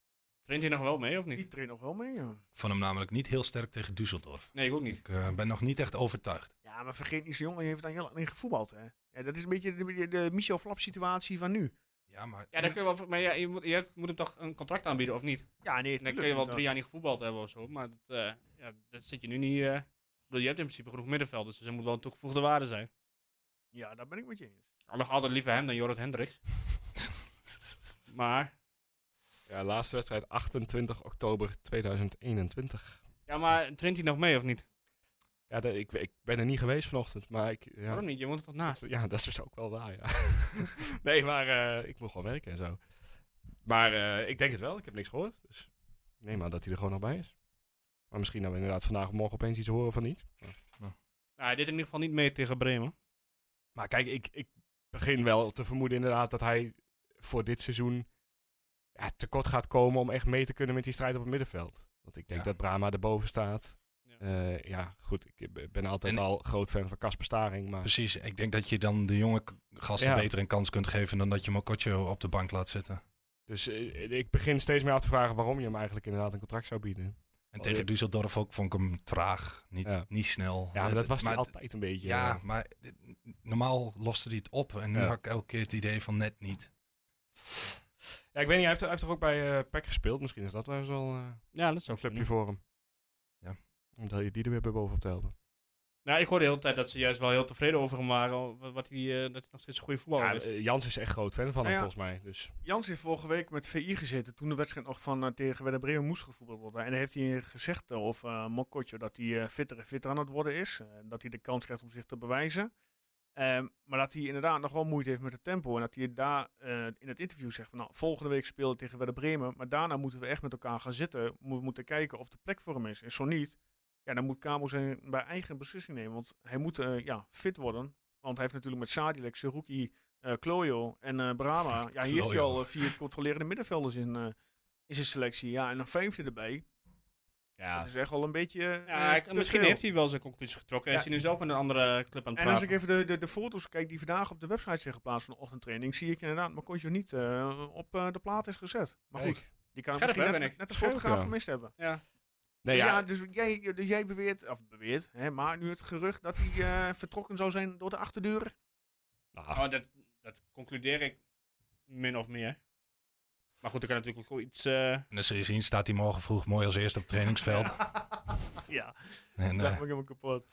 G: Traint hij nog wel mee of niet?
A: Die traint nog wel mee, ja.
F: Ik vond hem namelijk niet heel sterk tegen Düsseldorf.
G: Nee, ik ook niet.
F: Ik eh, ben nog niet echt overtuigd.
A: Ja, maar vergeet niet, zo'n jongen heeft daar heel lang in gevoetbald. Hè? Ja, dat is een beetje de, de Michel Flap situatie van nu.
F: Ja, maar...
G: Ja, dan kun je wel, maar ja, je, moet, je moet hem toch een contract aanbieden of niet?
A: Ja, nee,
G: En dan
A: tuurlijk,
G: kun je wel
A: want,
G: drie jaar niet gevoetbald hebben of zo. Maar dat, eh, ja, dat zit je nu niet... eh, ik bedoel, je hebt in principe genoeg middenvelders, dus er moet wel een toegevoegde waarde zijn.
A: eh, Ja, daar ben ik met je eens.
G: Al nog altijd liever hem dan Jorrit Hendricks.
A: *laughs*
G: Maar...
E: Ja, laatste wedstrijd 28 oktober 2021.
G: Ja, maar traint hij nog mee of niet?
E: Ja, dat- ik, ik ben er niet geweest vanochtend, maar ik... Ja,
G: Waarom niet? Je woont er toch naast?
E: Ja, dat is dus ook wel waar, ja. *laughs* nee, maar eh, ik moet gewoon werken en zo. Maar eh, ik denk het wel, ik heb niks gehoord. Dus ik neem aan dat hij er gewoon nog bij is. Maar misschien dat we inderdaad vandaag of morgen opeens iets horen van niet.
G: Nou, hij deed in ieder geval niet mee tegen Bremen.
E: Maar kijk, ik, ik begin wel te vermoeden inderdaad dat hij voor dit seizoen ja, tekort gaat komen om echt mee te kunnen met die strijd op het middenveld. Want ik denk
F: Ja.
E: dat Brahma erboven staat.
G: Ja.
E: Ja, ja goed, ik b- ben altijd
F: En-
E: al groot fan van Casper Staring, maar...
F: Precies, ik denk dat je dan de jonge k- gasten
E: Ja.
F: beter een kans kunt geven dan dat je Mokotjo op de bank laat zitten.
E: Dus eh, ik begin steeds meer af te vragen waarom je hem eigenlijk inderdaad een contract zou bieden.
F: En
E: Oh,
F: tegen Düsseldorf ook vond ik hem traag, niet,
E: Ja.
F: niet snel.
E: Ja, maar
F: Eh,
E: dat was
F: maar-
E: altijd een beetje.
F: Ja,
E: eh,
F: maar dit- normaal loste hij het op en nu
E: Ja.
F: had ik elke keer het idee van net niet.
E: ja, ik weet niet, hij heeft, hij heeft toch ook bij eh PEC gespeeld? Misschien is dat wel eens wel eh,
G: Ja, dat is
E: zo'n
G: ook
E: clubje voor hem.
F: Ja.
E: Omdat je die er weer bij bovenop te helpen.
G: Nou, ik hoorde de hele tijd dat ze juist wel heel tevreden over hem waren. o- Wat, wat hij, eh, dat hij nog steeds een goede voetballer
E: Ja,
G: is.
E: eh, Jans is echt groot fan van hem
A: Ja, ja.
E: volgens mij. Dus
A: Jans heeft vorige week met VI gezeten toen de wedstrijd nog van eh, tegen Werder Bremen moest gevoetbald worden. En daar heeft hij gezegd eh, over eh Mokotjo dat hij eh, fitter en fitter aan het worden is. Eh, dat hij de kans krijgt om zich te bewijzen. Ehm, maar dat hij inderdaad nog wel moeite heeft met het tempo. En dat hij daar eh, in het interview zegt van nou, volgende week spelen we tegen Werder Bremen. Maar daarna moeten we echt met elkaar gaan zitten. Mo- We moeten kijken of de plek voor hem is. En zo niet, ja, dan moet Kamo zijn bij eigen beslissing nemen. Want hij moet eh, ja, fit worden. Want hij heeft natuurlijk met Sadilek, Seruki, eh Klojo en eh Brahma. Ja, hier heeft hij
F: Klojo.
A: al eh, vier controlerende middenvelders in, eh, in zijn selectie. Ja, en dan vijfde erbij. Dat
G: Ja.
A: is echt wel een beetje. eh,
G: Ja, ik-
A: te
G: misschien
A: veel.
G: heeft hij wel zijn conclusies getrokken. Hij
A: Ja.
G: is hij nu zelf met een andere club aan het
A: En als ik
G: praten.
A: even de, de, de foto's kijk die vandaag op de website zijn geplaatst van de ochtendtraining, zie ik inderdaad Makontje niet eh, op eh, de plaat is gezet. Maar
E: Kijk.
A: goed, die kan
G: Scherp,
A: misschien net,
G: hè, ben ik.
A: net als
E: Scherp,
A: fotograaf
E: ja.
A: gemist hebben.
E: Nee,
A: dus ja,
E: ja,
A: dus, jij, dus jij beweert, of beweert, hè, maar nu het gerucht dat hij eh, *laughs* vertrokken zou zijn door de achterdeur. Ah.
E: nou,
G: Oh, dat, dat concludeer ik min of meer. Maar goed, er kan natuurlijk ook wel iets... eh,
F: En dan zul je zien, staat hij morgen vroeg mooi als eerste op het trainingsveld.
G: Oh.
A: *laughs* Ja,
F: En,
A: dat maak
F: eh, *laughs*
A: ik helemaal kapot.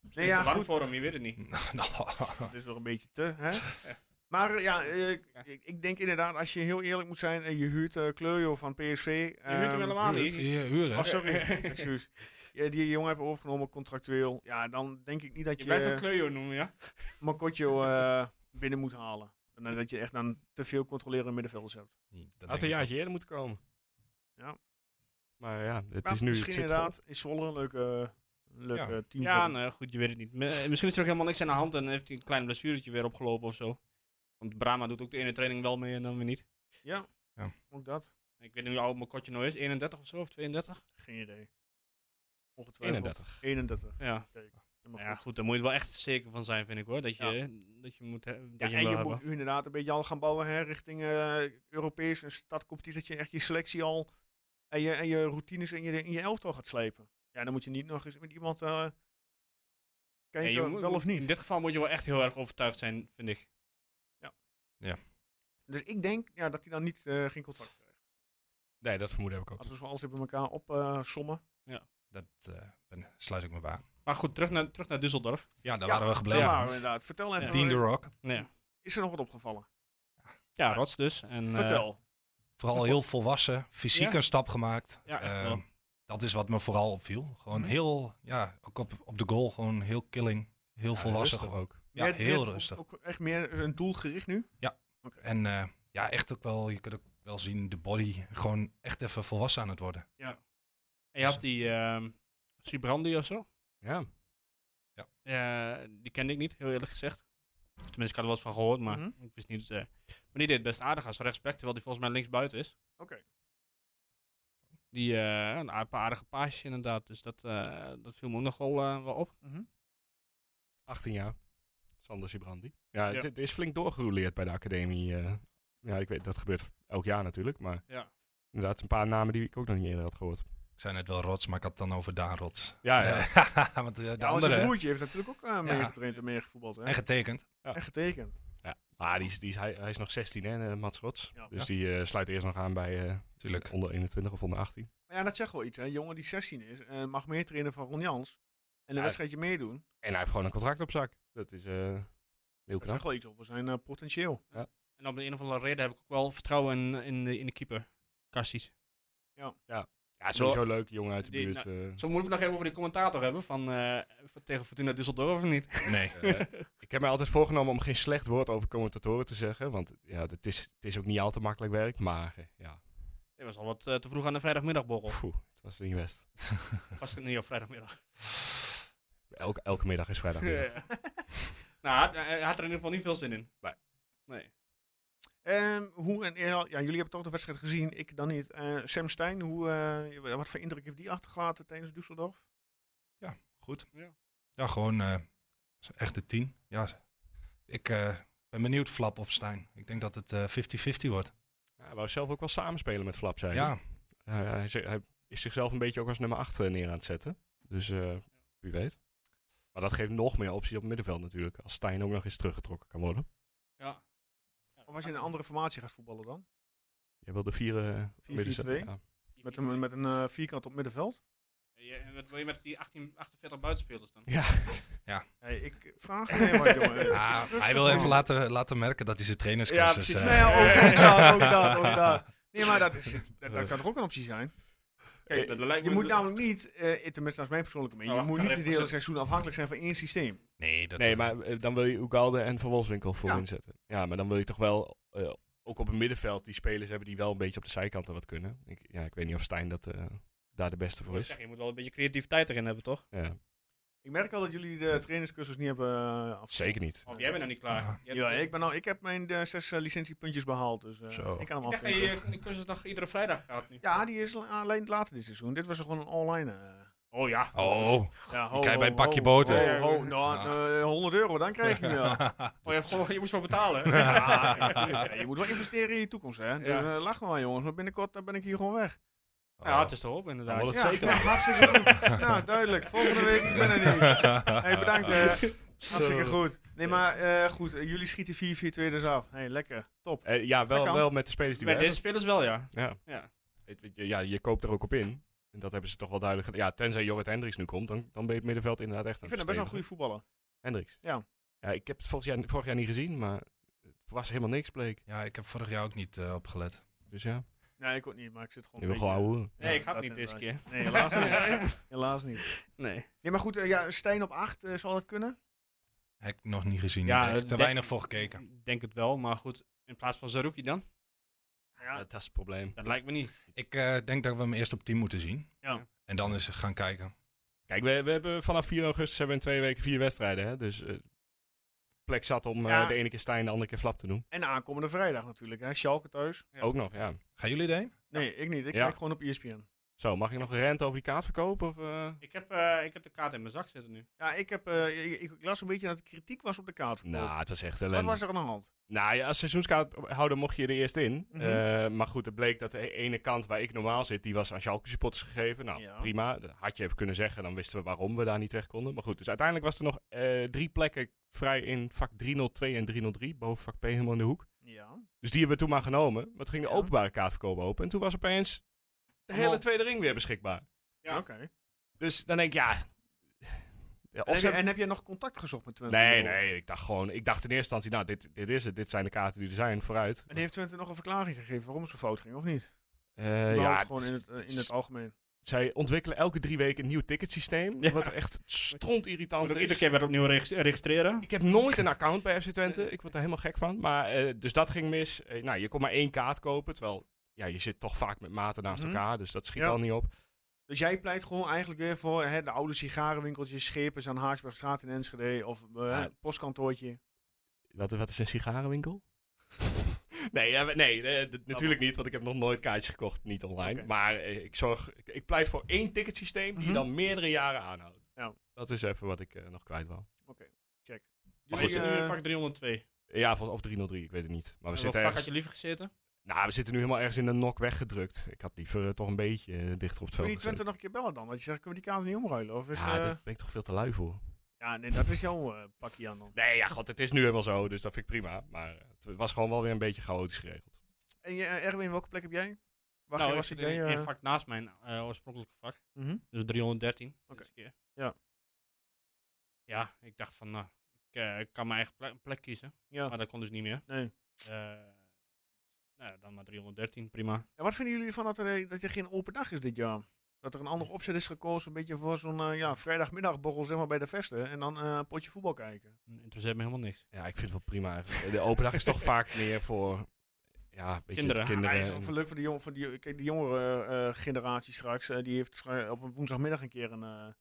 A: Nee,
G: is
A: ja,
G: te warm
A: goed.
G: voor hem, je weet het niet.
F: nou,
A: Dat is nog een beetje te, hè? Maar eh, ja, eh, ik, ik- ik denk inderdaad, als je heel eerlijk moet zijn en je huurt eh Kleurio van PSV.
G: Je huurt hem
A: ehm,
G: helemaal niet.
F: vier uur, hè?
A: Oh, sorry. Excuus. *laughs* Ja, die jongen hebben overgenomen contractueel. Ja, dan denk ik niet dat
G: Je
A: je,
G: blijft hem
A: je
G: Cleo noemen, ja?
A: Mokotjo eh, binnen moet halen. En dan dat je echt dan te veel controlerende middenvelders hebt.
F: Dat
E: had
F: denk
E: een
F: ik
E: jaartje eerder moeten komen.
A: Ja.
E: Maar ja, het
A: Maar
E: is nu... het
A: misschien
E: zit vol.
A: inderdaad is Zwolle een leuke, een leuke
F: Ja.
A: team.
G: Ja,
A: voor hem.
G: nou, goed, je weet het niet. Me- eh, Misschien is er ook helemaal niks aan de hand en heeft hij een klein blessuretje weer opgelopen of zo. Want Brahma doet ook de ene training wel mee en dan weer niet.
A: ja.
F: Ja.
A: ook dat.
G: Ik weet niet hoe oud mijn kotje nou is, 31 of zo, of 32?
A: Geen idee. Ongetwijfeld.
E: 31.
A: 31.
G: Ja.
A: Helemaal
G: Ja,
A: goed.
G: goed, daar moet je wel echt zeker van zijn, vind ik hoor. Dat je, dat je moet he- dat
A: Ja,
G: je
A: en
G: hem
A: je
G: wil
A: moet
G: hebben.
A: nu inderdaad een beetje al gaan bouwen hè, richting eh, Europees en stadcompetitie. Dat je echt je selectie al en je, en je routines in je, in je elftal gaat slepen. Ja, dan moet je niet nog eens met iemand eh
G: Ja,
A: kijken,
G: je moet-
A: wel of
G: In
A: niet.
G: dit geval moet je wel echt heel erg overtuigd zijn, vind ik.
A: Dus ik denk ja, dat hij dan niet, eh, geen contract krijgt.
E: Nee, dat vermoeden heb ik ook.
A: Als we zo alles even bij elkaar opsommen.
F: Dat eh, ben- sluit ik me bij. aan.
G: Maar goed, terug naar, terug naar Düsseldorf.
F: Ja, daar
A: Ja,
F: waren we
A: ja,
F: gebleven.
A: maar inderdaad. Vertel even,
F: Dean
A: eh,
F: de Rock.
G: Ja,
A: is er nog wat opgevallen?
G: ja rots dus. En, eh,
A: Vertel.
F: Vooral heel volwassen, fysiek
G: Ja.
F: een stap gemaakt.
G: Ja, echt
F: Ehm,
G: wel.
F: dat is wat me vooral opviel. Gewoon
A: Mhm.
F: heel, ja, ook op, op de goal, gewoon heel killing. Heel volwassen
E: rustig
F: gewoon.
E: ook.
F: Ja,
A: Meer-
F: heel
A: meer-
F: rustig.
A: Ook, ook echt meer een doel gericht nu?
F: En eh, ja, echt ook wel, je kunt ook wel zien, de body gewoon echt even volwassen aan het worden.
G: en je had die ehm Sibrandi of zo.
E: Ja.
G: Eh, die kende ik niet, heel eerlijk gezegd. Of tenminste, ik had er wel eens van gehoord, maar
A: Mhm.
G: ik wist niet. eh, maar die deed best aardig als rechtsback, terwijl die volgens mij linksbuiten is.
A: Oké.
G: Die eh, een aard- paar aardige paasjes inderdaad, dus dat, eh, dat viel me ook nog wel, eh, wel op.
A: Mhm.
E: 18 jaar. Sander Sibrandi. Ja,
G: Ja.
E: Het, het is flink doorgerouleerd bij de academie. eh. ja, ik weet, dat gebeurt elk jaar natuurlijk. Maar
G: Ja.
E: inderdaad, een paar namen die ik ook nog niet eerder had gehoord.
F: Ik zei net wel rots, maar ik had het dan over Daan Rots.
E: Ja, ja.
F: *laughs* Want eh, de
A: Ja, want
F: andere,
A: zijn broertje heeft natuurlijk ook eh meegetraind en meegevoetbald. Hè?
F: en getekend.
A: En getekend.
E: Maar die is, die is, hij, hij is nog 16, hè, eh, Mats Rots.
A: Ja.
E: Dus die eh, sluit eerst nog aan bij eh,
F: Tuurlijk.
E: onder 21 of onder 18.
A: Maar ja, dat zegt wel iets. Hè. Een jongen die 16 is en mag meer trainen van Ron Jans. En een
E: Ja.
A: wedstrijdje meedoen.
E: En hij heeft gewoon een contract op zak. Dat is eh heel
A: Dat zegt
E: knap.
A: wel iets over zijn eh, potentieel.
G: En om de een of andere reden heb ik ook wel vertrouwen in, in, de, in de keeper, Kasties.
E: Ja, sowieso leuk, jongen uit de
G: Die-
E: buurt.
A: nou,
E: eh.
G: Zo moeten we het nog even over die commentator hebben van eh, van- tegen Fortuna Düsseldorf of niet? *laughs*
F: Nee.
E: Eh, ik heb mij altijd voorgenomen om geen slecht woord over commentatoren te zeggen. Want ja, het is, het is ook niet al te makkelijk werk. Maar eh, ja,
G: Dat was al wat eh, te vroeg aan de vrijdagmiddagborrel.
E: pfoe, het was niet best.
G: Was het niet op vrijdagmiddag?
E: Elke, elke middag is
A: *laughs*
E: vrijdag.
G: *laughs* nou, hij- hij had er in ieder geval niet veel zin in.
E: Nee.
G: Nee.
A: Ehm, hoe en ja, jullie hebben toch de wedstrijd gezien, ik dan niet. Eh, Sam Stein, hoe, eh, wat voor indruk heeft die achtergelaten tijdens Düsseldorf?
F: Goed.
G: Ja.
F: Ja, gewoon eh, is echt de tien. Ja, ik eh, ben benieuwd, Flap op Stijn. Ik denk dat het eh, 50-50 wordt.
E: Ja, hij wou zelf ook wel samenspelen met Flap, zei hij.
F: Ja,
E: Hij- hij, zei- hij is zichzelf een beetje ook als nummer 8 neer aan het zetten. Dus eh, wie weet. Maar dat geeft nog meer opties op het middenveld natuurlijk. Als Stijn ook nog eens teruggetrokken kan worden.
G: Ja.
A: Of als je in
F: Ah.
A: een andere formatie gaat voetballen dan?
E: Jij wil de vier eh, op het midden zetten.
A: 4-4-2?
E: Ja.
A: Met een, met een eh, vierkant op middenveld?
G: Ja, en wat wil Eh, je met die 18, 48 buitenspelers dan?
E: Ja.
A: Hey, ik vraag alleen maar,
F: *laughs*
A: jongen.
F: Ah,
A: Rustig,
F: hij wil even
A: man.
F: laten, laten merken dat hij zijn trainerscursus...
G: precies.
F: eh,
A: Nee, ook
F: *laughs*
A: dat, ook dat, ook dat. Nee, maar dat, is, dat, dat kan toch ook een optie zijn? Kijk,
G: Eh, dat- dat lijkt
A: je
G: me-
A: moet namelijk niet, eh tenminste als mijn persoonlijke mening,
G: Oh,
A: je moet
G: ga
A: niet
G: even
A: het hele
G: zitten.
A: seizoen afhankelijk zijn van één systeem.
F: nee, dat,
E: Nee,
F: *laughs*
E: maar eh, dan wil je Ugalde en Van Wolfswinkel voorin zetten. Ja, maar dan wil je toch wel, eh, ook op het middenveld, die spelers hebben die wel een beetje op de zijkanten wat kunnen. Ik, ja, ik weet niet of Stijn dat, eh, daar de beste voor
G: Ik
E: is.
G: zeg, je moet wel een beetje creativiteit erin hebben, toch?
E: Ja.
A: Ik merk al dat jullie de trainerscursus niet hebben eh, af.
E: Zeker niet.
G: Of jij bent nog niet klaar.
F: Ja.
G: Je hebt-
A: Ja, ik, ben al, ik heb mijn eh, zes eh, licentiepuntjes behaald, dus eh,
F: Zo.
A: ik kan hem
G: Ik dacht
A: afvinken.
G: dat je eh, die cursus nog iedere vrijdag gaat nu.
A: Ja, die is la- alleen later dit seizoen. Dit was gewoon een online. eh.
G: Oh ja.
F: Oh,
A: Ja, ho,
F: krijg
A: ho,
F: bij een pakje
A: ho,
F: boter.
A: ho, ho, nou, eh, 100 euro, dan krijg je hem
F: *laughs*
A: wel.
G: Oh, je, hebt gewoon, je moest wel betalen.
A: Ja, je moet wel investeren in je toekomst, hè? Dus
G: Ja.
A: eh, lach maar, jongens. Maar binnenkort eh, ben ik hier gewoon weg.
G: *laughs* Ja, het is te hoop
E: Dan wordt het
G: inderdaad.
A: Ja,
E: zeker.
A: ja, hartstikke goed. Nou, duidelijk. Volgende week, ik ben er
F: *laughs*
A: niet. Hey, bedankt. eh. hartstikke goed. Nee, maar eh, goed. eh, jullie schieten 4-4-2 dus af. Hey, lekker. Top.
E: Eh, ja,
A: Dat
E: wel,
A: kan.
E: wel met de spelers die we
G: Bij deze
E: hebben.
G: spelers wel, ja.
E: Ja.
G: Ja.
E: Het- het- Ja, je koopt er ook op in. En dat hebben ze toch wel duidelijk gedaan. Ja, tenzij Jorrit Hendricks nu komt, dan, dan ben je het middenveld inderdaad echt
A: Ik
E: aan
A: vind hem
E: het
A: best wel een goede
E: verstevigen.
A: voetballer.
E: Hendricks.
A: Ja.
E: ja, ik heb het vorig jaar, vorig jaar niet gezien, maar het was helemaal niks bleek.
F: Ja, ik heb vorig jaar ook niet eh, opgelet.
E: Dus ja,
A: Nee, ik ook niet, maar ik zit gewoon.
E: je
A: een
E: wil gewoon
A: beetje-
E: ouwe hoeren.
G: Nee, ik ga het
A: dat
G: niet deze keer.
A: inderdaad. *laughs* Nee, helaas niet. Helaas niet.
G: *laughs* Nee.
A: Nee, maar goed. eh, ja, Stijn op 8, zal dat kunnen?
F: Heb ik nog niet gezien.
G: Ja,
F: Ja,
G: het
F: te
G: dek-
F: weinig voor gekeken.
G: Ik denk het wel, maar goed. In plaats van Zaruki dan?
A: Ja.
E: Dat is het probleem.
G: Dat lijkt me niet.
F: Ik eh, denk dat we hem eerst op 10 moeten zien.
A: Ja.
F: En dan eens gaan kijken.
E: Kijk, we, we hebben vanaf 4 augustus hebben we in twee weken vier wedstrijden. Hè? Dus eh, plek zat om eh,
A: Ja.
E: de ene keer Stijn, de andere keer Flap te doen.
A: En aankomende vrijdag natuurlijk. Hè? Schalke thuis.
G: Ja.
E: Ook nog, ja.
F: Gaan jullie erheen?
A: Nee, ik niet. Ik
E: Ja.
A: kijk gewoon op E ESPN.
E: Zo, mag ik nog een rente over die kaart verkopen? Of, eh?
G: Ik heb, eh, ik heb de kaart in mijn zak zitten nu.
A: Ja, ik, heb, eh, ik, ik las een beetje dat er kritiek was op de kaart.
E: Nou, het was echt
A: Wat
E: ellende.
A: was er aan de hand?
E: Nou ja, als seizoenskaarthouder mocht je er eerst in.
A: Mhm.
E: Eh, maar goed, het bleek dat de ene kant waar ik normaal zit, die was aan Schalke supporters gegeven. Nou,
A: Ja.
E: prima. Dat had je even kunnen zeggen, dan wisten we waarom we daar niet terecht konden. Maar goed, dus uiteindelijk was er nog eh, drie plekken vrij in vak 302 en 303, boven vak P helemaal in de hoek.
A: Ja.
E: Dus die hebben we toen maar genomen. Maar toen ging de
A: Ja.
E: openbare kaartverkoop open en toen was opeens de hele
A: Allemaal-
E: tweede ring weer beschikbaar.
G: Ja.
A: Oké.
E: Dus dan denk ik, ja... ja,
A: En,
E: of
A: heb
E: ze
A: je- en heb je nog contact gezocht met Twente?
E: Nee,
A: hierover?
E: nee, ik dacht gewoon, ik dacht in eerste instantie, nou, dit, dit is het, dit zijn de kaarten die er zijn, vooruit.
A: En heeft Twente nog een verklaring gegeven waarom ze fout ging, of niet?
E: Eh,
A: ja,
E: ja,
A: gewoon in het, eh, in het algemeen.
E: Zij ontwikkelen elke drie weken een nieuw ticketsysteem.
A: Ja.
E: Wat echt stront
G: Moet
E: irritant
G: ik
E: is.
G: iedere keer weer opnieuw regis- registreren?
E: Ik heb nooit een account bij FC Twente. Ik word er helemaal gek van. Maar, eh, dus dat ging mis. Eh, nou, je kon maar één kaart kopen. Terwijl ja, je zit toch vaak met maten naast
A: Mhm.
E: elkaar. Dus dat schiet
A: Ja.
E: al niet op.
A: Dus jij pleit gewoon eigenlijk weer voor hè, de oude sigarenwinkeltjes, schepers aan Haaksbergstraat in Enschede of eh,
E: Ja.
A: postkantoortje.
E: Wat, wat is een sigarenwinkel? *laughs* nee, ja, we- nee eh, d- natuurlijk niet. Want ik heb nog nooit kaartjes gekocht. Niet online.
A: Oké.
E: Maar eh, ik, zorg, ik, ik pleit voor één ticketsysteem die je
A: Mhm.
E: dan meerdere jaren aanhoudt.
A: Ja.
E: Dat is even wat ik eh, nog kwijt wil.
G: Mag
A: Jullie,
G: ik nu in
A: eh,
G: vak 302?
E: Ja, of, of 303, ik weet het niet. Maar we
G: Welk
E: zitten
G: vak
E: ergens...
G: had je liever gezeten?
E: Nou, we zitten nu helemaal ergens in de nok weggedrukt. Ik had liever eh, toch een beetje eh, dichter op
A: Kun je
E: het veld
A: die Twente
E: gezeten.
A: nog een keer bellen dan? Dat je zegt, kunnen we die kaarten niet omruilen? Of is,
E: Ja,
A: eh,
E: daar ben ik toch veel te lui voor.
A: ja nee, dat is jouw eh, pakje aan dan.
E: Nee, ja, god, het is nu helemaal zo, dus dat vind ik prima. Maar eh, het was gewoon wel weer een beetje chaotisch geregeld.
A: En je, eh, Erwin, welke plek heb jij? Waar
G: nou,
A: jij-
G: ik
A: was
G: zit
A: het
G: in
A: jij?
G: een
A: eh,
G: vak naast mijn eh, oorspronkelijke vak.
A: mhm.
G: Dus 313.
A: Oké.
G: deze keer.
A: Ja.
G: Ja, ik dacht van, nou, ik eh, ik kan mijn eigen plek, plek kiezen.
A: Ja.
G: Maar dat kon dus niet meer.
A: Nee.
G: Eh, nou, ja, dan maar 313, prima.
A: En wat vinden jullie ervan dat er, eh, dat er geen open dag is dit jaar? Dat er een ander opzet is gekozen, een beetje voor zo'n eh, ja, vrijdagmiddagborrel zeg maar, bij de vesten. En dan eh, een potje voetbal kijken.
G: Interesseert me helemaal niks.
E: Ja, ik vind het wel prima eigenlijk. De open dag is toch vaak meer voor ja, een beetje
G: Kinderen.
E: de kinderen.
A: Ja, is ook
E: en-
A: wel leuk voor de, jong, voor de, jo- kijk, de jongere eh, generatie straks. eh, die heeft stra- op een woensdagmiddag een keer een, eh,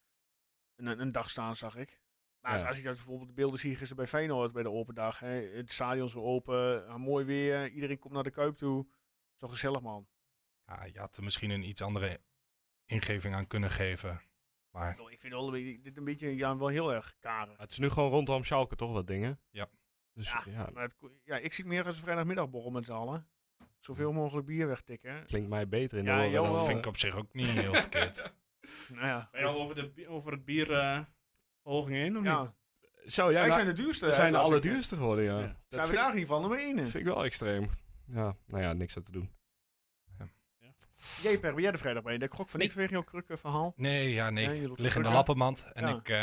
A: een, een, een dag staan, zag ik. Maar als-
E: Ja.
A: als ik dat bijvoorbeeld de beelden zie gisteren bij Feyenoord bij de open dag. Hè, het stadion zo open, ah, mooi weer, iedereen komt naar de Kuip toe. Zo gezellig man.
F: Ja, je had er misschien een iets andere ingeving aan kunnen geven. Maar
A: Ik vind wel een beetje- dit een beetje ja, wel heel erg karen.
E: Het is nu gewoon rondom Schalke toch wat dingen.
F: Ja.
E: Dus
A: Ja.
E: ja,
A: Maar het ko- ja, ik zie het meer als een vrijdagmiddagborrel met z'n allen. Zoveel mogelijk bier wegtikken. hè.
E: klinkt mij beter in de
A: Ja,
E: oren dan-
A: jawel.
F: dat vind ik op zich ook niet heel verkeerd.
A: Nou ja,
G: Ben je al over, de, bi- over het bier eh, verhoging heen? Of
A: ja.
G: niet?
E: Zo, ja,
A: wij
E: maar-
A: zijn de duurste.
E: we zijn de
A: hè, klassiek.
E: allerduurste geworden, ja.
G: Ja.
E: Dat
A: Zijn we
E: vind,
A: daar in ieder geval nummer één in.
E: vind ik wel extreem. Ja, nou ja, niks aan te doen.
A: *laughs* Jij Per, ben jij de vrijdag bij? De krok van
F: Nee.
A: niks vanwege jouw krukken verhaal.
F: Nee, ja,
A: Ja,
F: nee.
A: je loopt
F: Liggende
A: elkaar.
F: lappenmand. En
A: Ja.
F: ik, eh,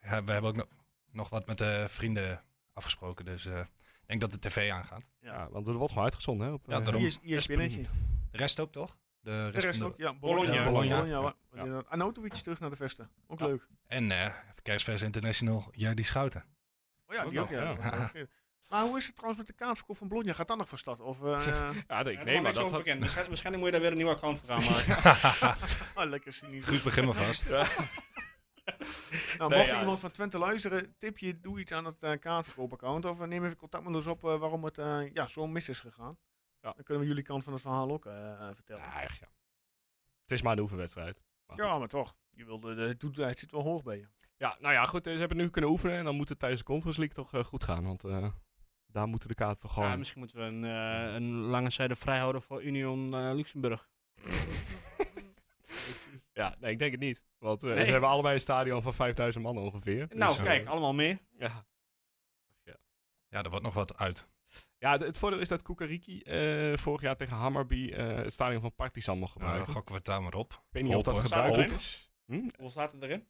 F: ja, we hebben ook no- nog wat met de vrienden afgesproken. Dus eh, ik denk dat de tv aangaat.
A: Ja.
E: Ja. want er wordt gewoon uitgezonden, hè? Op,
F: Ja,
E: eh,
F: daarom.
A: Hier is hier is
E: Espen.
A: Spinnetje.
F: De rest ook, toch? De
A: De
F: rest,
A: rest
F: van de-
A: ook. Ja,
G: Bologna.
A: Bologna.
F: Ja, Bologna.
A: wa-
E: Ja.
A: inderdaad. Arnautovic terug naar de Vesten. Ook
E: Ja.
A: leuk.
F: En eh Kerstvers International, jij die
A: *laughs*
F: schouten. *laughs*
A: Oh ja,
E: Ook
A: die ook,
E: nog,
A: ja. Maar hoe is het trouwens met de kaartverkoop van Bologna? Gaat dat nog van stad? Of, eh
E: Ja,
G: Ja,
E: ik
G: er
E: neem maar
G: kwam niks
E: dat
G: over
E: had...
G: bekend. Waarschijn- Waarschijnlijk moet je daar weer een nieuw account voor gaan maken.
A: oh, lekker cynisch.
F: Goed begin maar vast.
A: *laughs* Nou,
E: Nee,
A: mocht
E: ja.
A: iemand van Twente luisteren, tip je, doe iets aan het eh, kaartverkoopaccount. Of eh, neem even contact met ons op eh, waarom het eh, ja, zo mis is gegaan.
E: Ja.
A: Dan kunnen we jullie kant van het verhaal ook eh, eh, vertellen.
E: Ja, echt, ja. Het is maar een oefenwedstrijd. Maar goed.
A: Ja, maar toch. Je wilde, de toetijd zit wel hoog bij je.
E: Ja, nou ja, goed. eh, Ze hebben nu kunnen oefenen en dan moet het tijdens de Conference League toch eh, goed gaan. Want eh, daar moeten de kaarten toch gewoon...
G: Ja, misschien moeten we een, eh, een lange zijde vrijhouden voor Union eh, Luxemburg.
E: Ja, nee, ik denk het niet. Want eh,
G: Nee.
E: ze hebben allebei een stadion van 5000 man ongeveer.
G: Nou,
E: Dus, eh,
G: kijk, allemaal meer.
E: ja.
F: Ja, er wordt nog wat uit.
E: ja, het, het voordeel is dat Kukariki eh, vorig jaar tegen Hammarby eh, het stadion van Partizan mocht
F: Nou,
E: gebruiken.
F: dan gokken we het daar maar op.
E: ik weet niet of dat
F: hoop, hoor.
E: gebruikt
G: Hoop.
E: is. Hm?
G: Hoeveel staat het erin?